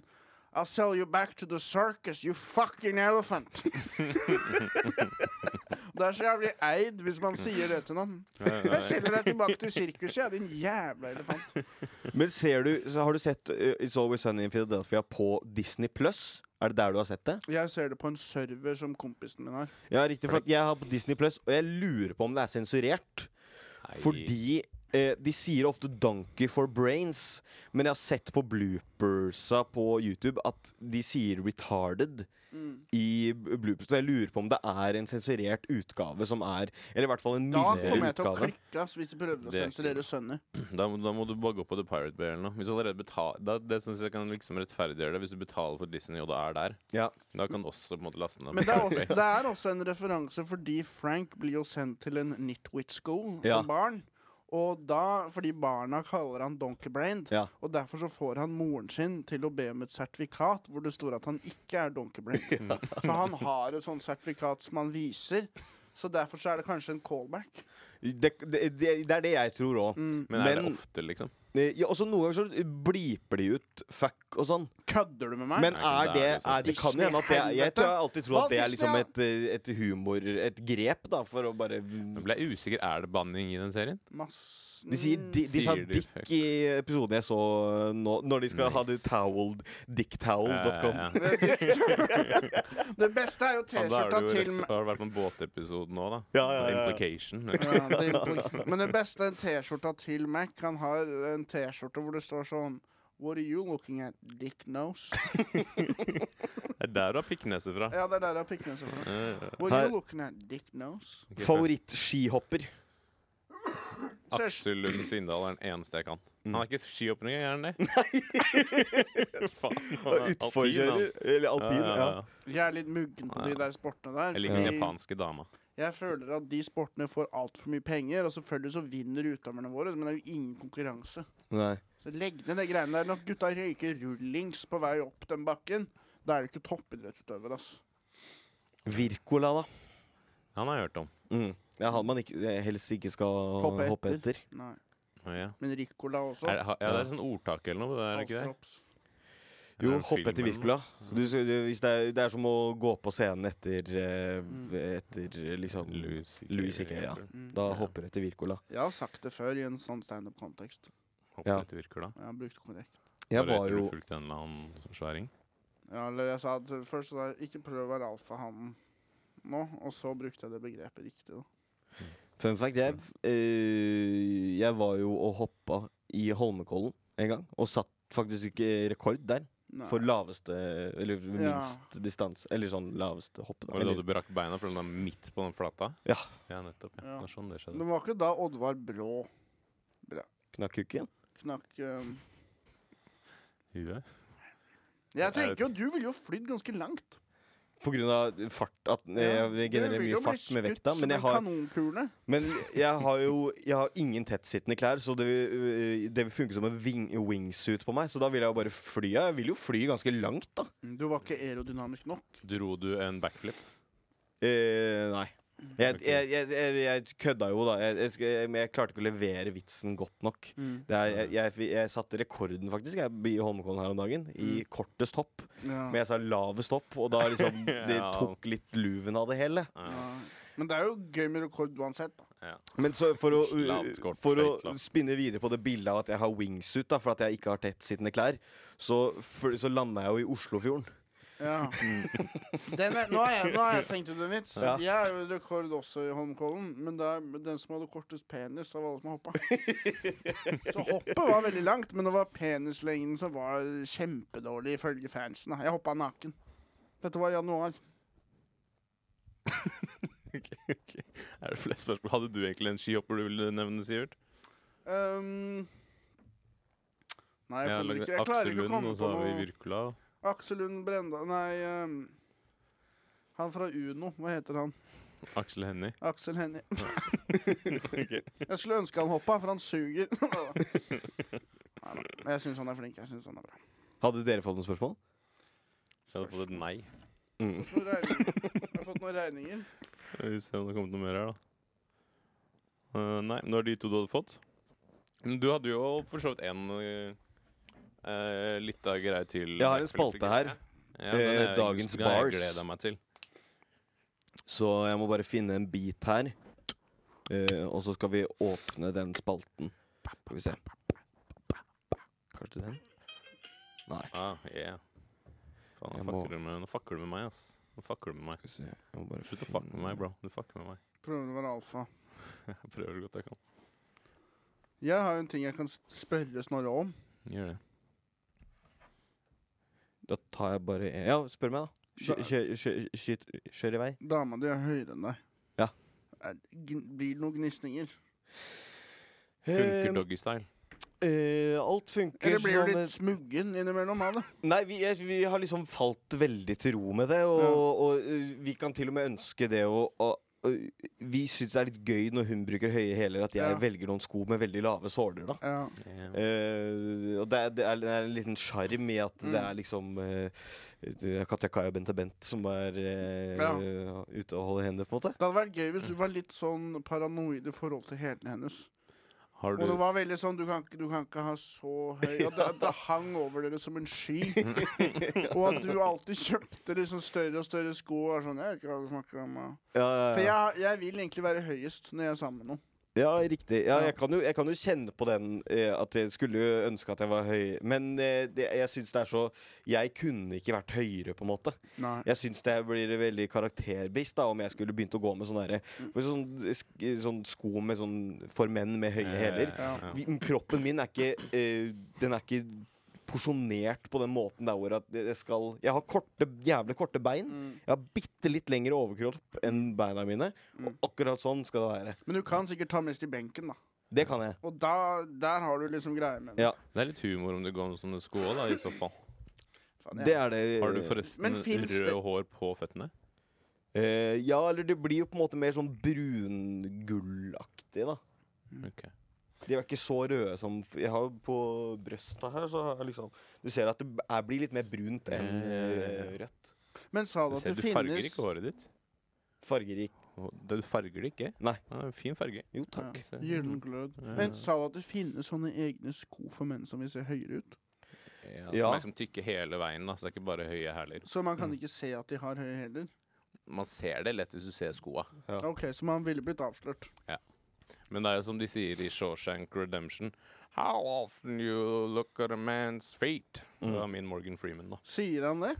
I'll sell you back to the circus, you fucking elephant! det er så jævlig eid hvis man sier det til noen.
Ja, ja,
Jeg
ja.
sender deg tilbake til sirkuset, jeg, din jævla elefant.
Men ser du, så har du sett eh, It's Always Sunny in Philadelphia på Disney Pluss? Er det der du har sett det?
Jeg ser det på en server som kompisen min har.
Ja, riktig. For at jeg har på Disney Plus, og jeg lurer på om det er sensurert.
Nei.
Fordi eh, de sier ofte 'donkey for brains', men jeg har sett på bloopersa på YouTube at de sier 'retarded'
Mm.
i b- bloopers. Så jeg lurer på om det er en sensurert utgave som er Eller i hvert fall en
Da kommer
mildere
jeg til å
utgave.
klikke ass, hvis de prøvde å
Det er ikke
sensurere sønner.
Da, må- da må du bare gå på The Pirate Bay eller noe. Hvis du allerede betaler, da, det synes jeg kan liksom rettferdiggjøre det hvis du betaler for Disney og det er der.
Ja.
Da kan du også på en måte laste ned
Men det er,
Pirate
også,
Bay.
det er også en referanse fordi Frank blir jo sendt til en nitwit school
Ja.
som barn. Og da, fordi barna kaller han donkeybrained,
Ja.
og derfor så får han moren sin til å be om et sertifikat hvor det står at han ikke er donkeybrained. For han har et sånt sertifikat som han viser, så derfor så er det kanskje en callback.
Det, det, det, det er det jeg tror òg.
Mm.
Men er det
Men- eh,
ofte, liksom?
Ja, også noen ganger så bliper de ut fuck og sånn.
Kødder du med meg?
Men
Nei,
er
men det
det,
er jo sånn.
er, det kan jo hende at det er Jeg tror jeg alltid tror at det er liksom et, eh, et humor Et grep, da, for å bare
Nå
De
ble jeg usikker. Er det banning i den serien?
Mass-
sier di, De sa
Sier de fuck.
dick i episoden jeg så nå, når de skal ha det
Nice.
toweled dicktowel.com.
Ja, ja, ja.
Det beste er jo
Ja, da
T-skjorta
har du jo
til
rett, da har det vært en båtepisode nå, da.
Ja, ja, ja, ja.
Implication.
ja, det er implik- Men det beste er en T-skjorta til Mac. Han har en T-skjorte hvor det står sånn What are you looking at? Dick nose.
Det er der du har pikkneset fra.
Ja, det er der jeg har pikkene seg fra.
Ja, ja.
What are
Her-
you looking at? Dick nose.
Ok,
Favorittskihopper.
Så jeg-
Aksel Lund Svindal er den eneste jeg kan.
Mm.
Han er ikke skihopper engang, er han det? Faen, han er alpin,
Utforkjører.
han.
Eller
Ja,
alpin.
ja,
Ja.
ja.
Jeg er litt muggen på de
Ja.
der sportene der.
Jeg liker den
fordi
japanske dama.
jeg føler at de sportene får altfor mye penger, og selvfølgelig så vinner utøverne våre, men det er jo ingen konkurranse.
Nei.
Så legg ned de greiene der. Når gutta røyker rullings på vei opp den bakken, da er det ikke toppidrettsutøver, ass.
Virkola, da.
Han har jeg hørt om.
Mm. Det er han man ikke, helst ikke skal
Hoppe
hoppe,
etter.
etter.
Nei.
Å, Ja.
Men Ricola også.
Er, det- ha- ja, det er sånn ordtak eller noe. Det er det ikke det?
Avstropps.
Jo,
Eller en
hoppe
film
etter
eller noe.
Virkola. Du, skal- du, hvis det, er, det er som å gå på scenen etter, eh, etter eh, liksom
Louis C.K.
Louis C.K., ja.
Mm.
Da
Ja.
hopper du etter Virkola.
Jeg har sagt det før i en sånn standup-kontekst.
Hoppe
Ja.
etter Virkola.
Jeg har brukt korrekt.
Bare
Jeg var
etter du
jo
fulgte en eller annen sværing.
Ja, eller jeg sa at først sa jeg ikke prøv å være alfahannen nå, og så brukte jeg det begrepet riktig. da.
Fun fact, jeg, eh, jeg var jo og hoppa i Holmenkollen en gang, og satt faktisk ikke rekord der.
Nei.
For laveste Eller
Ja.
minst distanse. Eller sånn laveste hopp, da.
Var det da du
Eller,
brakk beina fordi den er midt på den flata?
Ja.
Ja, nettopp. Ja.
Ja.
Det er sånn det skjedde.
Det var ikke da Oddvar Brå
knakk kukken.
knakk eh,
Huet? Jeg
Jeg
vet
tenker jo du ville jo flydd ganske langt.
På grunn av fart. At
Ja,
eh, jeg genererer
du vil
mye
jo bli
fart med
skutt
vekta.
som
Men jeg
en
har
kanonkule.
Men jeg har jo jeg har ingen tettsittende klær, så det vil, øh, det vil funke som en wing, wingsuit på meg. Så da vil jeg jo bare fly. Jeg vil jo fly ganske langt, da.
Du var ikke
Mm.
aerodynamisk nok.
Dro du en backflip?
Eh, nei. Jeg, jeg, jeg, jeg, jeg kødda jo, da. Jeg, jeg, sk- jeg, men jeg klarte ikke å levere vitsen godt nok.
Mm.
Det er, jeg, jeg, jeg satte rekorden, faktisk, jeg, i Holmenkollen her om dagen. I
Mm.
kortest hopp.
Ja.
Men jeg sa lavest hopp, og da liksom Det
Ja.
tok litt luven av det hele.
Ja. Men det er jo gøy med rekord uansett. da.
Ja.
Men så for å,
Lavt kort,
for
høyt
å
lavt.
spinne videre på det bildet av at jeg har wingsuit, da, for at jeg ikke har tettsittende klær, så, f- så landa jeg jo i Oslofjorden.
Ja. Den er, nå, har jeg, nå har jeg tenkt ut en vits.
Ja.
Jeg er jo rekord også i Holmenkollen, men det er den som hadde kortest penis av alle som hoppa. Så hoppet var veldig langt, men det var penislengden som var kjempedårlig ifølge fansen. da. Jeg hoppa naken. Dette var i januar.
Ok, ok. Er det flere spørsmål? Hadde du egentlig en skihopper du ville nevne, Sivert?
Um, nei, jeg,
Jeg har
kommer
lagd
ikke, jeg klarer
Aksel
ikke å
Lund,
komme
og så
på
har vi
noe.
Virkula.
Aksel Lund Brenda Nei, um, han fra Uno. Hva heter han?
Aksel Hennie.
Aksel Hennie.
Ok.
Jeg skulle ønske han hoppa, for han suger. Neida. Men jeg syns han er flink. Jeg synes han er bra.
Hadde dere fått noen spørsmål?
Jeg hadde fått et nei.
Noen regninger. Har du fått noen regninger?
Vi får se om det kommer noe mer her, da. Eh, nei, det var de to du hadde fått. Men du hadde jo for så vidt en uh, lita greie til.
Jeg har en spalte her.
Ja, den
Eh,
er-
Dagens
den har
bars.
Jeg gleder meg til.
Så jeg må bare finne en bit her. Eh, og så skal vi åpne den spalten. Skal vi se. Kanskje den? Nei.
Ah, yeah. Faen, nå
Jeg må-
fucker, du med, nå fucker du med meg, ass. Nå fucker du med meg.
Skal vi se. Jeg må bare
Slutt å
finne-
fucke med meg, bro. Du fucker med meg.
Prøver du å være alfa?
Jeg prøver så godt jeg kan.
Jeg har jo en ting jeg kan s- spørre Snorre om.
Gjør det.
Da tar jeg bare en. Ja, spør meg, da.
Da-
Kjø- kjø- kjø- kjø- Kjør i vei.
Dama di er høyere enn deg.
Ja.
Er, gn- blir det noen gnisninger?
Funker doggystyle.
Eh, alt funker
Eller blir du
som
litt smuggen innimellom av det?
Nei, vi, jeg, vi har liksom falt veldig til ro med det, og,
Ja.
og øh, vi kan til og med ønske det og, og øh, vi syns det er litt gøy når hun bruker høye hæler, at jeg
Ja.
velger noen sko med veldig lave såler, da.
Ja.
Yeah.
Eh, og det er, det, er, det er en liten sjarm i at det
Mm.
er liksom eh, Katja Kai og Bente Bent som er eh,
Ja.
ute og holder hender, på en måte.
Det hadde vært gøy hvis du var litt sånn paranoid i forhold til hælene hennes.
Har
Og det
du
var veldig sånn Du kan, ikke- du kan ikke ha så høy Og det, det hang over dere som en sky. og at du alltid kjøpte liksom større og større sko. Og var sånn, jeg vet ikke hva du snakker om. ja».
Ja, ja,
For
ja.
jeg, jeg vil egentlig være høyest når jeg er sammen med noen.
ja riktig. Ja,
Ja.
jeg, kan jo, jeg kan jo kjenne på den eh, at jeg skulle jo ønske at jeg var høy, men eh, det, jeg syns det er så Jeg kunne ikke vært høyere, på en måte.
Nei.
Jeg syns det blir veldig karakterbevisst da, om jeg skulle begynt å gå med sånne, der, for sånn, sk- sånn sko med sånn, for menn med høye hæler.
Ja.
Vi- Kroppen min er ikke eh, Den er ikke porsjonert på den måten der hvor at jeg skal Jeg har korte, jævlig korte bein.
Mm.
Jeg har bitte litt lengre overkropp enn beina mine.
Mm.
Og akkurat sånn skal det være.
Men du kan sikkert ta mest i benken, da.
Det kan jeg.
Og da, der har du liksom greia med det.
Ja,
Det er litt humor om du går med sånne sko òg, da, i så fall.
Faen, jeg-
det er det.
Har du
Eh, Men
forresten
finnes det-
røde hår på føttene?
Eh, ja, eller det blir jo på en måte mer sånn brungullaktig, da.
Mm.
Ok.
De er ikke så røde som f- Jeg har jo på brøsta her, så har jeg liksom Du ser at det b- er, blir litt mer brunt enn eh, rødt.
Men sa du
Du
at
ser-
det
Du farger
finnes
ikke håret ditt.
Fargerik.
Og det- Du farger det ikke?
Nei.
Ja, det er en fin farge.
Jo, takk.
Se.
Gyllen glød. Men sa du at det finnes sånne egne sko for menn som vil se høyere ut?
Ja,
Ja.
Som er liksom tykke hele veien, da, så det er ikke bare høye hæler.
Så man kan ikke se at de har høye hæler?
Man ser det lett hvis du ser skoa.
Ja.
OK, så man ville blitt avslørt.
Men det er jo som de sier i Shawshank Redemption How often you look at a man's feet?
Mm.
Det var min Morgan Freeman, da.
Sier han det?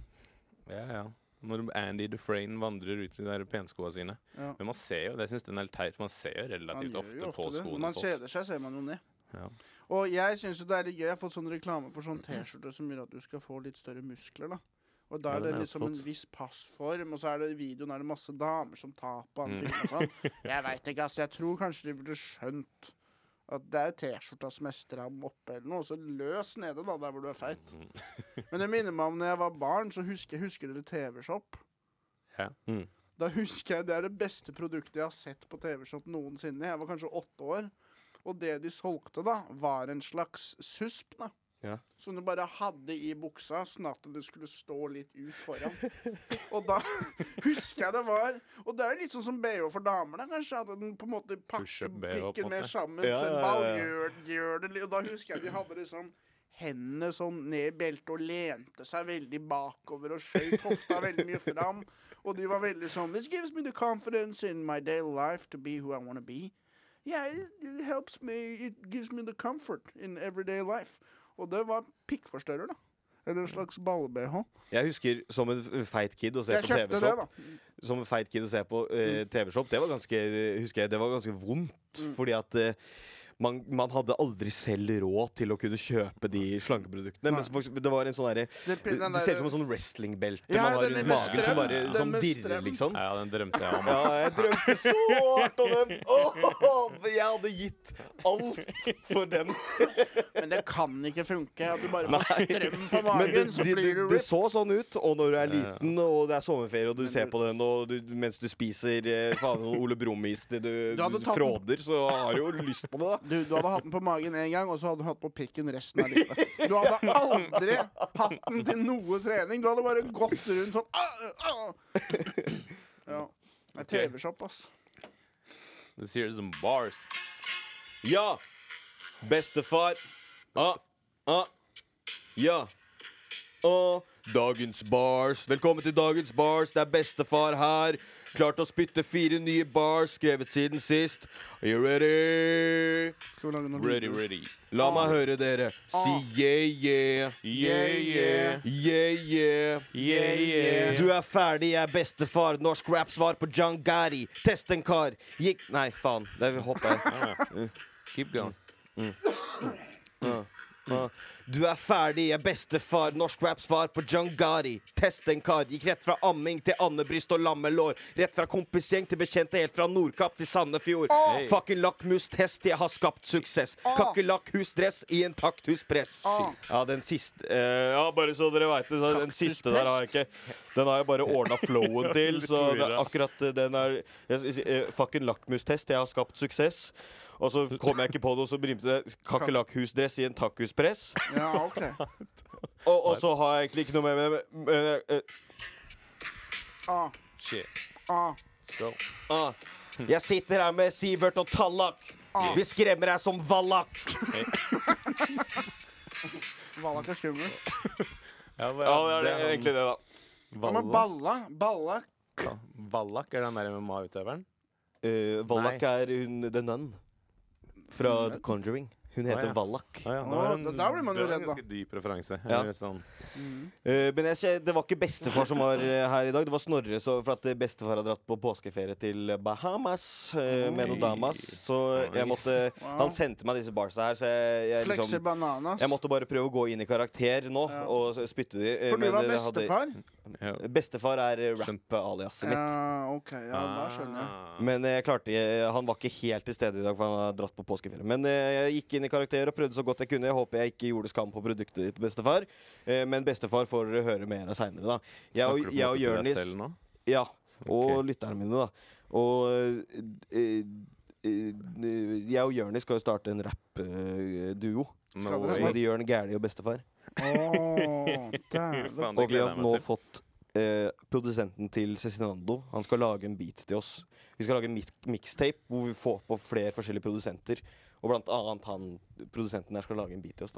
Ja, ja. Når Andy Dufresne vandrer ut i de der penskoa sine.
Ja.
Men man ser jo, det synes den er litt teit, for man ser jo
Man
relativt
gjør
ofte,
jo
på
det. Når
skoene
man
til folk.
kjeder seg, ser man jo ned.
Ja.
Og jeg syns jo det er litt gøy. Jeg har fått sånn reklame for sånn T-skjorte som gjør at du skal få litt større muskler, da. Og da
Ja,
er
den
det
har jeg
liksom en
fått.
viss passform, og så er det i videoen er det masse damer som tar på
Mm.
ansiktet og sånn. Jeg veit ikke, altså. Jeg tror kanskje de burde skjønt at det er T-skjorta som er stram oppe eller noe, og så løs nede, da, der hvor du er feit.
Mm.
Men det minner meg om når jeg var barn, så husker, husker dere TV-Shop?
Ja.
Mm.
Da husker jeg Det er det beste produktet jeg har sett på TV-Shop noensinne. Jeg var kanskje åtte år. Og det de solgte, da, var en slags susp. da.
Ja.
Som du bare hadde i buksa, sånn at det skulle stå litt ut foran. og da husker jeg det var Og det er jo litt sånn som BH for damer, da, kanskje. At den på en måte
Push
pakker
up BH, på en
pikken mer
måte.
sammen.
Ja,
så en
ja,
ball
ja, ja.
Gjør, gjør det litt. Og da husker jeg de hadde liksom hendene sånn ned i beltet og lente seg veldig bakover og skjøt hofta veldig mye fram. Og de var veldig sånn This gives me the confidence in my daily life to be who I wanna be. Yeah, it, it helps me. It gives me the comfort in everyday life. Og det var pikkforstørrer, da. Eller en
Mm.
slags balle-BH.
Jeg husker som en f- feit kid å se
Jeg
på
kjøpte det,
TV-shop. Som en feit kid å se på eh,
Mm.
TV-shop. Det var ganske husker jeg, det var ganske vondt. Fordi at eh, man, man hadde aldri selv råd til å kunne kjøpe de slankeproduktene. Men så for eksempel- det var en sånn derre Det,
Det- den
det ser ut
der-
som en sånn wrestling-belte
Ja,
man har
den
rundt
med
magen
strøm.
som bare
Den
som
med
dirrer,
strøm.
liksom.
Ja, den drømte jeg om.
Ja,
ass.
jeg drømte så hardt om den! Åh, jeg hadde gitt alt for den.
Men det kan ikke funke. At du bare får strøm på magen,
Men det,
så
det,
blir
det,
du ripped.
det så sånn ut, og når du er liten og det er sommerferie og du ser på den og du, mens du spiser eh, faen, sånn Ole Brumm-is til du,
Du hadde
du
tatt den-
fråder, så har du jo lyst på det, da.
Du, du hadde hatt den på magen én gang, og så hadde du hatt på pikken resten av livet. Du hadde aldri hatt den til noe trening. Du hadde bare gått rundt sånn ah, ah. Ja. Det er TV-shop, ass.
This here is some bars.
Ja! Bestefar. Ah, ah. Ja. Og dagens bars. Velkommen til dagens bars. Det er bestefar her. Klart å spytte fire nye bars skrevet siden sist. Are you ready?
Skal vi lage noe
Ready,
lyd?
ready.
La meg høre dere si yeah, yeah.
Yeah, yeah.
Yeah, yeah.
Yeah, yeah.
Du er ferdig, jeg er bestefar. Norsk rap-svar på John Gary. Test en kar. Gikk Nei, faen. Der hopper jeg.
Keep going.
Ah. Du er ferdig, jeg er bestefar. Norsk rap-svar på John Gary. Test en kar. Gikk rett fra amming til andebryst og lammelår. Rett fra kompisgjeng til bekjente, helt fra Nordkapp til Sandefjord.
Åh!
Fucking lakmustest, jeg har skapt suksess.
Åh!
Kakerlakkhusdress i en takthuspress.
Åh!
Ja, den siste eh, Ja, bare så dere veit det, så den siste der har jeg ikke Den har jeg bare ordna flowen til, så det er akkurat eh, den er jeg, jeg, eh, Fucking lakmustest, jeg har skapt suksess. Og så kom jeg ikke på det, og så brimte det kakerlakkhusdress i en takhuspress.
Ja, OK.
Og, og så har jeg egentlig ikke noe mer med det. men, eh, eh,
Ah,
Shit.
ah.
Let's go.
ah. Jeg sitter her med Sivert og Tallak. Vi skremmer deg som vallak.
Valak er skummel.
Ja,
Ja, det er det, egentlig det, da.
Hva med balla? Balla?
Vallak er den der MMA-utøveren?
Vallak Eh, er hun The Nun fra
The
The Conjuring. Hun
heter
heter Vallak.
Ah, ja,
Å, da- da blir man jo redd, da.
da. Ganske dyp referanse.
Ja.
Eller Sånn.
Mm.
Eh, men jeg, ser- det var ikke bestefar som var eh, her i dag. Det var Snorre, så, for at eh, bestefar har dratt på påskeferie til Bahamas eh, med noen damas. Så jeg måtte Han sendte meg disse barsa her, så jeg, jeg
Flexer
sånn,
liksom
bananas?
jeg måtte bare prøve å gå inn i karakter nå
Ja.
og s- spytte de. eh,
For du
men
var
jeg hadde-
bestefar?
Ja.
Bestefar er eh, rap-aliaset mitt.
Ja, OK. Ja,
Ah.
da skjønner jeg.
Men eh, jeg klarte, eh, han var ikke helt til stede i dag, for han har dratt på påskeferie. Men eh, jeg gikk inn i karakter og prøvde så godt jeg kunne. Jeg håper jeg ikke gjorde skam på produktet ditt, bestefar. Eh, Men bestefar får dere høre mer av seinere, da. Jeg og, jeg og Jørnis Ja. Og
Ok.
lytterne mine, da. Og eh, eh, eh, jeg og Jørnis skal jo starte en
No
rappduo.
Skal dere
way.
Som heter Jørn Gæli og bestefar.
Åh, dæven.
Faen, det
Og vi
gleder
har
jeg
nå
meg til.
fått eh, produsenten til Cezinando. Han skal lage en beat til oss. Vi skal lage en mik- mixtape hvor vi får på flere forskjellige produsenter. Og blant annet han produsenten der skal lage en beat til oss.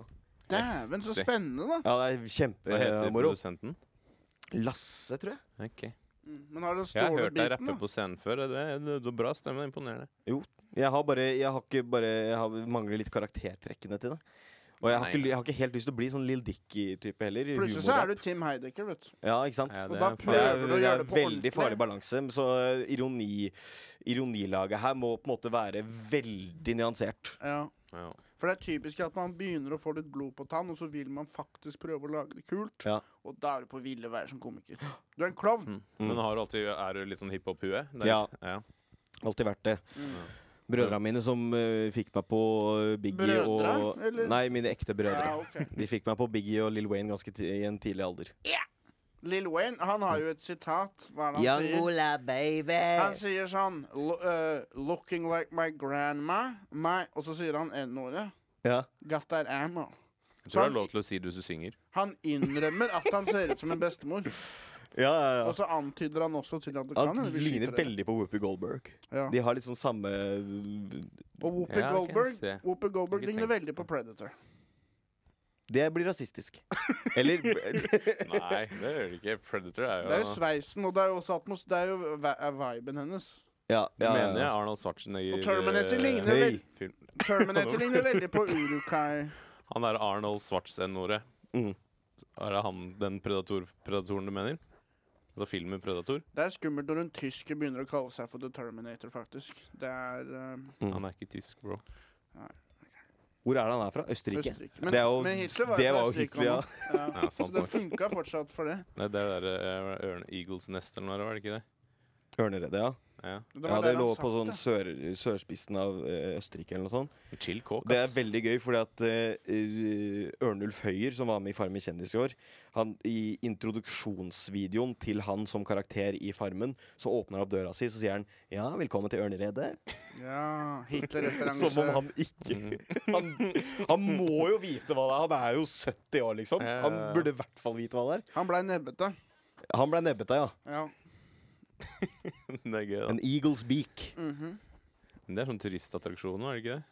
da
Dæven, så spennende, da.
Ja, det er
eh,
eh,
Hva heter
kjempemoro.
produsenten?
Lasse, tror jeg.
Ok.
Mm. Men har du
Jeg har hørt deg
stålebiten,
rappe
da?
på scenen før. Det er, du har bra stemme. det er Imponerende.
Jeg har bare Jeg har ikke bare Jeg har mangler litt karaktertrekkene til det. Og jeg har,
Nei,
ikke,
nei.
jeg har ikke helt lyst til å bli sånn Lill Dicky-type heller. i
Plutselig så
humorrap.
er du Tim Heidecker, vet du.
Ja, ikke sant?
Ja,
Og
det
da
er-
Det er,
prøver du å
det
gjøre
er
det på
veldig
ordentlig.
farlig balanse. Så eh, ironi, ironilaget her må på en måte være veldig nyansert.
Ja.
Ja.
For det er typisk at man begynner å få litt blod på tann, og så vil man faktisk prøve å lage det kult.
Ja.
Og da er du på ville veier som komiker. Du er en klovn.
Mm,
Men har du alltid, er du litt sånn hiphop-hue? Det er-
Ja.
Mm. ja.
Alltid vært det.
Mm.
Brødrene mine som eh, fikk meg på eh, Biggie og
Brødre, eller?
Nei, mine ekte brødre.
Ja, ok.
De fikk meg på Biggie og Lil Wayne ganske ti i en tidlig alder.
Lill Wayne, han har jo et sitat. Hva er det han sier?
Youngola,
Han
baby.
sier sånn lo- eh, Looking like my grandma. My, og så sier han N-ordet.
Ja.
Got that ammo.
Jeg tror
Så
det
han,
er lov til å si det hvis du synger.
han innrømmer at han ser ut som en bestemor.
Ja, ja, ja.
Og så antyder han også til at sånn det kan
Han
hende vi
ligner
skyter det.
veldig på Whoopi Goldberg.
Ja.
De har litt sånn samme
Og Whoopi
Ja, det kan jeg se.
Goldberg, Whoopi Goldberg
Ikke
ligner
tenkt
veldig på Predator.
Det blir rasistisk. Eller
Nei, det gjør det ikke. Predator er jo
Det er jo sveisen, og det er jo, også atmos det er jo vi- er viben hennes.
Ja,
Du
ja,
mener jeg
ja.
Arnold Schwarzenegger
Og Terminator
eh,
ligner
Høy.
vel
film.
Terminator ligner veldig på Urukai.
Han er Arnold Schwarzenegger.
Mm.
Er det han den predator, predatoren du mener? Altså filmen Predator?
Det er skummelt når en tysker begynner å kalle seg for The Terminator, faktisk. Det er eh,
Mm.
Han er ikke tysk, bro.
Hvor er det han er fra? Østerrike?
Østerrike. Men,
Det er jo-
men Hitler var
det
jo
var jo
fra Østerrike.
Hitler,
han
ja.
Ja,
også. Ja. Så
sant
det
nok.
funka fortsatt for det.
Nei, det er uh, Ørne Eagles Nest eller noe, var det ikke det?
Ørneredet, ja.
Ja.
Det
ja.
var
Det
der han
lå på
satt,
sånn
ja.
sør, sørspissen av eh, Østerrike eller noe sånt.
Chill kåk,
Det er
ass.
veldig gøy, fordi at eh, Ørnulf Høyer, som var med i Farmen kjendis i år han, I introduksjonsvideoen til han som karakter i Farmen, så åpner han opp døra si, så sier han 'Ja, velkommen til Ørneredet'.
ja. Hitler-referanse.
Som om han ikke han, han må jo vite hva det er. Han er jo 70 år, liksom.
Ja, ja,
Han
ja.
burde i hvert fall vite hva det er.
Han blei nebbete.
Han ble nebbete, ja.
Ja.
det er gøy, da.
En eagles beak.
mhm.
Men Det er sånn turistattraksjon, er det ikke det?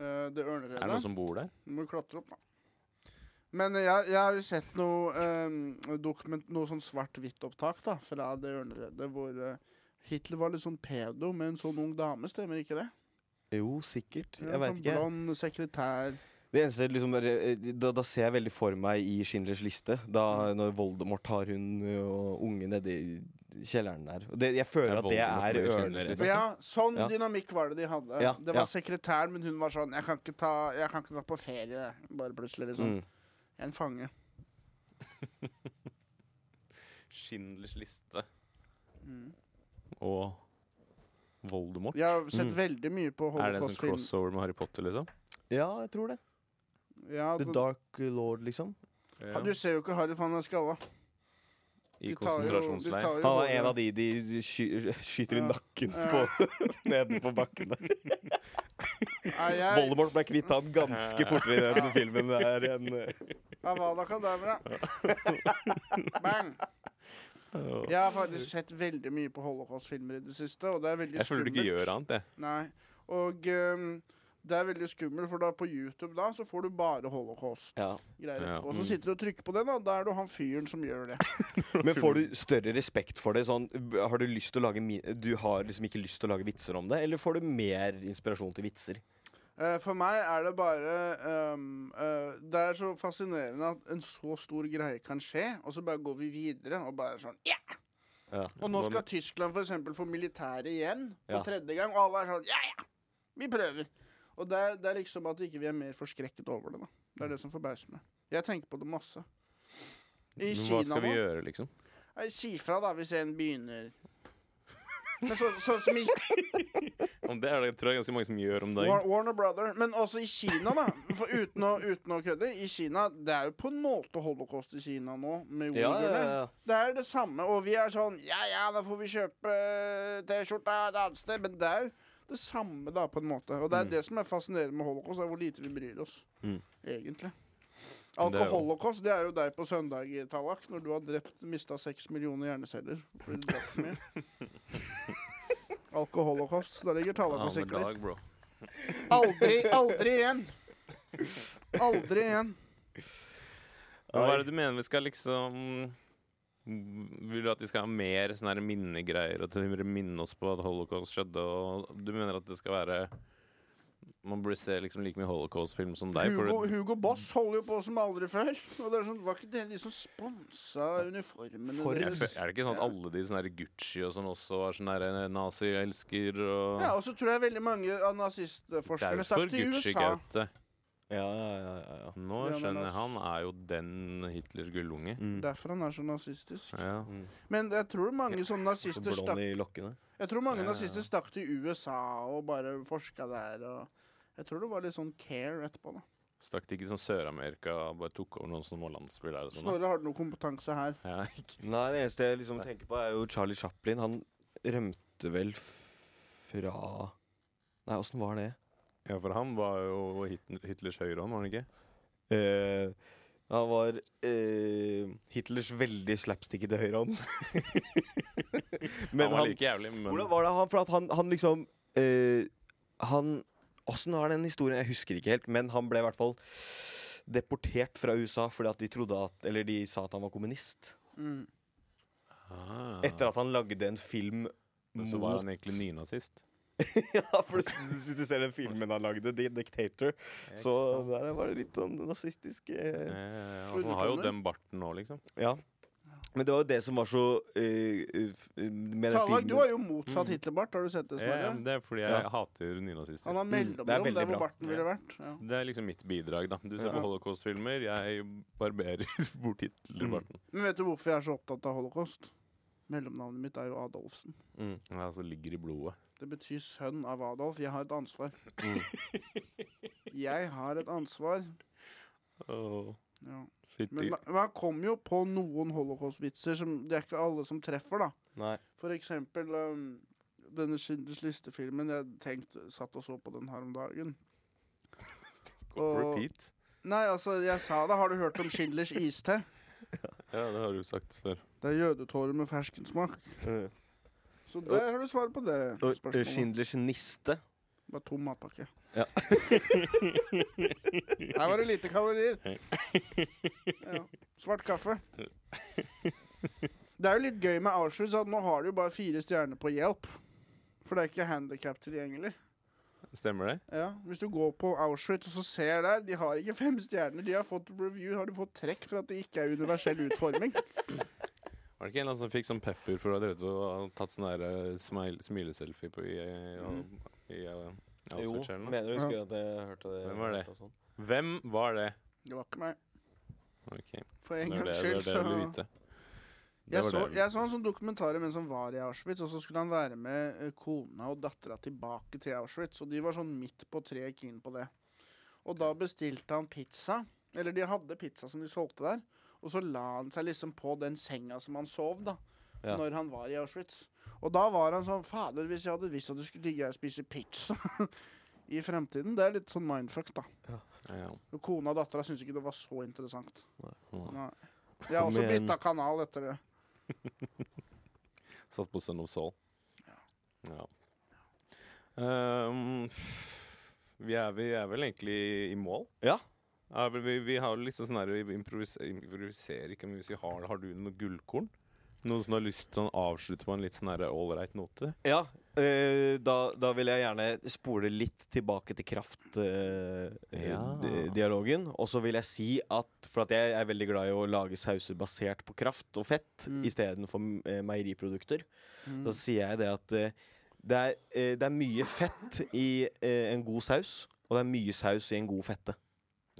Eh, det
Er det
ørneredet.
noen som bor der?
Du må jo klatre opp, da. Men eh, jeg, jeg har jo sett noe, eh, dokument, noe sånn svart-hvitt-opptak da, fra det ørneredet, hvor eh, Hitler var litt sånn pedo med en sånn ung dame, stemmer ikke det?
Jo, sikkert.
Ja,
Jeg
en
vet
sånn
ikke.
blond sekretær.
Det eneste liksom, er- da, da ser jeg veldig for meg i Schindlers liste, da, når Voldemort har hun og unge nedi kjelleren der. Og Det, jeg føler
Ja,
at det
Voldemort
er liksom.
med
Ørnes
Schindler.
liste.
Ja, sånn
Ja.
dynamikk var det de hadde.
Ja,
det
ja.
var sekretær, men hun var sånn Jeg kan ikke, ta, jeg kan ikke dra på ferie, bare plutselig, liksom.
Mm.
Jeg er en fange.
Schindlers liste
Mm.
og Voldemort?
Jeg har sett
Mm.
veldig mye på
er det en sånn
holocaust-film.
crossover med Harry Potter, liksom?
Ja, jeg tror det.
Ja,
The
du,
Dark Lord, liksom.
Ja.
du ser jo ikke Harry van den skalla.
I
De tar jo- de
konsentrasjonsleir?
tar jo
Han var
hodet-
en av de de sky, skyter i
Ja.
nakken på, nede på bakken der.
Nei, jeg,
Voldemort ble kvitt han ganske fortere i den filmen der enn eh,
Avada Kedavra. Bang! Jeg har faktisk sett veldig mye på holocaust-filmer i det siste, og det er veldig
Jeg føler du ikke
skummelt.
gjør annet, jeg.
Nei. Og ehm, det er veldig skummelt, for da på YouTube da, så får du bare holocaust-greier.
ja.
Ja.
etterpå. Og så
Mm.
sitter du og trykker på den, og da er du han fyren som gjør det.
Men får du større respekt for det? Sånn, b- har du lyst til å lage mi Du har liksom ikke lyst til å lage vitser om det, eller får du mer inspirasjon til vitser?
Eh, for meg er det bare ehm, eh, Det er så fascinerende at en så stor greie kan skje, og så bare går vi videre og bare sånn Ja!
Ja.
Og nå
Hva
skal Tyskland for eksempel få militære igjen for
Ja.
tredje gang, og alle er sånn Ja, ja! Vi prøver. Og det er, det er liksom at ikke vi er mer forskrekket over det, da. Det er det som forbauser meg. Jeg tenker på det masse. I
Men hva
Kina
skal vi
nå
gjøre, liksom?
Nei, Si fra, da, hvis en begynner Men så, sånn som i
Om det er det tror jeg ganske mange som gjør om dagen.
War, Warner Brother. Men også i Kina, da. For uten å, uten å kødde. I Kina, Det er jo på en måte holocaust i Kina nå, med
Ja,
uigurene.
ja, ja.
Det er det samme. Og vi er sånn Ja ja, da får vi kjøpe T-skjorta et annet sted. Men det er jo det samme, da, på en måte. Og det
Mm.
er det som er fascinerende med holocaust, er hvor lite vi bryr oss.
Mm.
Egentlig.
Men det er jo-
Alkoholocaust, det er jo deg på søndag, Tallak, når du har drept mista seks millioner hjerneceller. Fordi du drakk for mye. Alkoholocaust. Da ligger Tallak og
Alle
sikler.
dag, bro.
Aldri, aldri igjen. Aldri igjen.
Men hva er det du mener vi skal liksom Vil du at de skal ha mer sånne her minnegreier og til å minne oss på at holocaust skjedde? Og du mener at det skal være Man burde se liksom like mye holocaust-film som deg? For
Hugo,
du,
Hugo Boss holder jo på som aldri før. Og det er sånn, Var ikke det de som sponsa uniformene
For-
jeg,
deres?
fø- er det ikke sånn at
Ja.
alle de sånne her Gucci og sånn også var sånn her nazi-elsker og
Ja, og så tror jeg veldig mange av nazistforskerne
Derfor
stakk til USA.
Gucci-gaute.
Ja, ja, ja, ja, ja.
Nå
Ja, men
skjønner
ass.
jeg Han er jo den Hitlers gullunge.
Mm.
Derfor han er så nazistisk.
Ja.
Men jeg tror mange sånne nazister
Blond
stakk
i lokkene.
Jeg tror
Ja,
mange
ja, ja.
nazister stakk til USA og bare forska der. og Jeg tror det var litt sånn care etterpå. da
Stakk til ikke sånn Sør-Amerika og bare tok over noen som var landsby der og sånn? da?
Snorre, har du noe kompetanse her?
Ja, ikke
Nei, det eneste jeg liksom tenker på, er jo Charlie Chaplin. Han rømte vel f- fra Nei, åssen var det?
Ja, for han var jo Hit- Hitlers høyre hånd, var han ikke?
Eh, han var eh, Hitlers veldig slapstickete høyrehånd.
han var like jævlig, men
Hvordan var det han For at han, han liksom eh, Han Åssen var den historien? Jeg husker ikke helt, men han ble i hvert fall deportert fra USA fordi at de trodde at Eller de sa at han var kommunist.
Mm.
Ah.
Etter at han lagde en film
Men så var
mot-
han egentlig nynazist.
Ja, for s- hvis du ser den filmen han lagde, The Dictator, så der var det litt sånn nazistisk eh,
Eh, han har jo den barten nå, liksom.
Ja. Men det var jo det som var så eh, f- Med den
Tallak,
filmen
du har jo
Mm.
motsatt Hitlerbart, har du sett det,
Eh,
Snorre?
det er fordi jeg
Ja.
hater nynazister.
Han har
det er
mellomrom
veldig
der hvor
bra.
barten ville vært. Ja.
Det er liksom mitt bidrag, da. Du ser
Ja.
på holocaust-filmer, jeg barberer bort Hitlerbarten.
Men vet du hvorfor jeg er så opptatt av holocaust? Mellomnavnet mitt er jo Adolfsen.
Mm. Ja, altså ligger i blodet.
Det betyr sønn av Adolf. Jeg har et ansvar.
Mm.
jeg har et ansvar. Ja. Men
Fytti
ma- man kom jo på noen holocaust-vitser som det er ikke alle som treffer, da.
Nei.
For eksempel um, denne Schindlers liste-filmen jeg tenkte, satt og så på den her om dagen. Og-
Repeat.
Nei, altså, jeg sa det. Har du hørt om Schindlers iste?
Ja, det har du sagt før.
Det er jødetårer med ferskensmak.
Eh,
Så der har du svaret på det
og, eh,
spørsmålet.
Schindlers niste.
Bare tom matpakke.
Ja.
Her var det lite kalorier. Ja. Svart kaffe. Det er jo litt gøy med Auschwitz at nå har de jo bare fire stjerner på hjelp. For det er ikke handikap tilgjengelig.
Stemmer det?
Ja, Hvis du går på Auschwitz og så ser der, de har ikke fem stjerner. De har fått review, har de fått trekk for at det ikke er universell utforming.
Var det ikke en eller annen som fikk sånn pepper for å ha drevet og ha tatt sånn der eh, smile- smileselfie på i, i, i, eh, Auschwitz eller noe?
du
husker
at jeg hørte det?
Hvem var det? Hvem var det?
Det var ikke meg.
Ok,
For
Det
en
var det,
gangs
det,
skyld,
var det jeg ville
så
vite. Det
Jeg
var
så,
det.
jeg så en sånn dokumentar om en som var i Auschwitz, og så skulle han være med eh, kona og dattera tilbake til Auschwitz. Og de var sånn midt på treet keen på det. Og da bestilte han pizza. Eller de hadde pizza som de solgte der. Og så la han seg liksom på den senga som han sov, da.
Ja.
Når han var i Auschwitz. Og da var han sånn Fader, hvis jeg hadde visst at du skulle digge å spise pizza i fremtiden Det er litt sånn mindfuck, da.
Ja.
Og kona og dattera syntes ikke det var så interessant.
Nei.
Nei. Jeg har
Kom
også
igjen.
bytta kanal etter det.
Satt på Son of Soul. Ja. Ehm, vi, er, vi er vel egentlig i mål?
Ja.
Er vel- vi, vi har liksom sånn her Vi improviserer, improviserer ikke, men hvis vi har Har du noe gullkorn? Noen som har lyst til å avslutte på en litt sånn her ålreit note?
Ja. eh, da, da vil jeg gjerne spole litt tilbake til
Ja.
kraftdialogen. og så vil jeg si at For at jeg er veldig glad i å lage sauser basert på kraft og fett
Mm.
istedenfor eh, meieriprodukter.
Mm.
Da sier jeg det at eh, det, er, eh, det er mye fett i eh, en god saus, og det er mye saus i en god fette.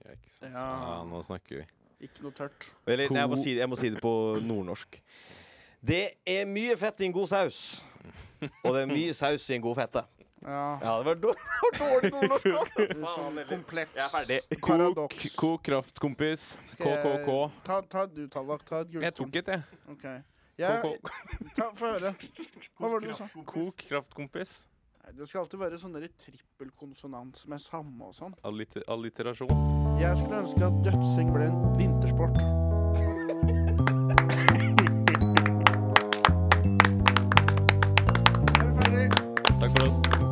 Ja, ikke sant?
Ja.
nå snakker vi.
Ikke noe tørt.
Eller nei, jeg, må
God-
si, jeg må si det på nordnorsk. Det er mye fett i en god saus, og det er mye saus i en god fette.
Ja.
Ja, det var dårlig, det var dårlig nordnorsk også.
Det er sånn komplett
Jeg er ferdig.
paradoks.
K- Ko kraft, kompis. KKK.
Ta, ta du, Tallak. Ta et gullkorn.
Jeg tok et, jeg.
Ok. Jeg,
KK.
ta, få høre. Hva var det du sa?
Ko kraft, kompis.
Nei, Det skal alltid være sånn der trippelkonsonant som er samme og sånn.
Alliter alliterasjon.
Jeg skulle ønske at dødsing ble en vintersport. Er vi ferdig?
Takk for oss.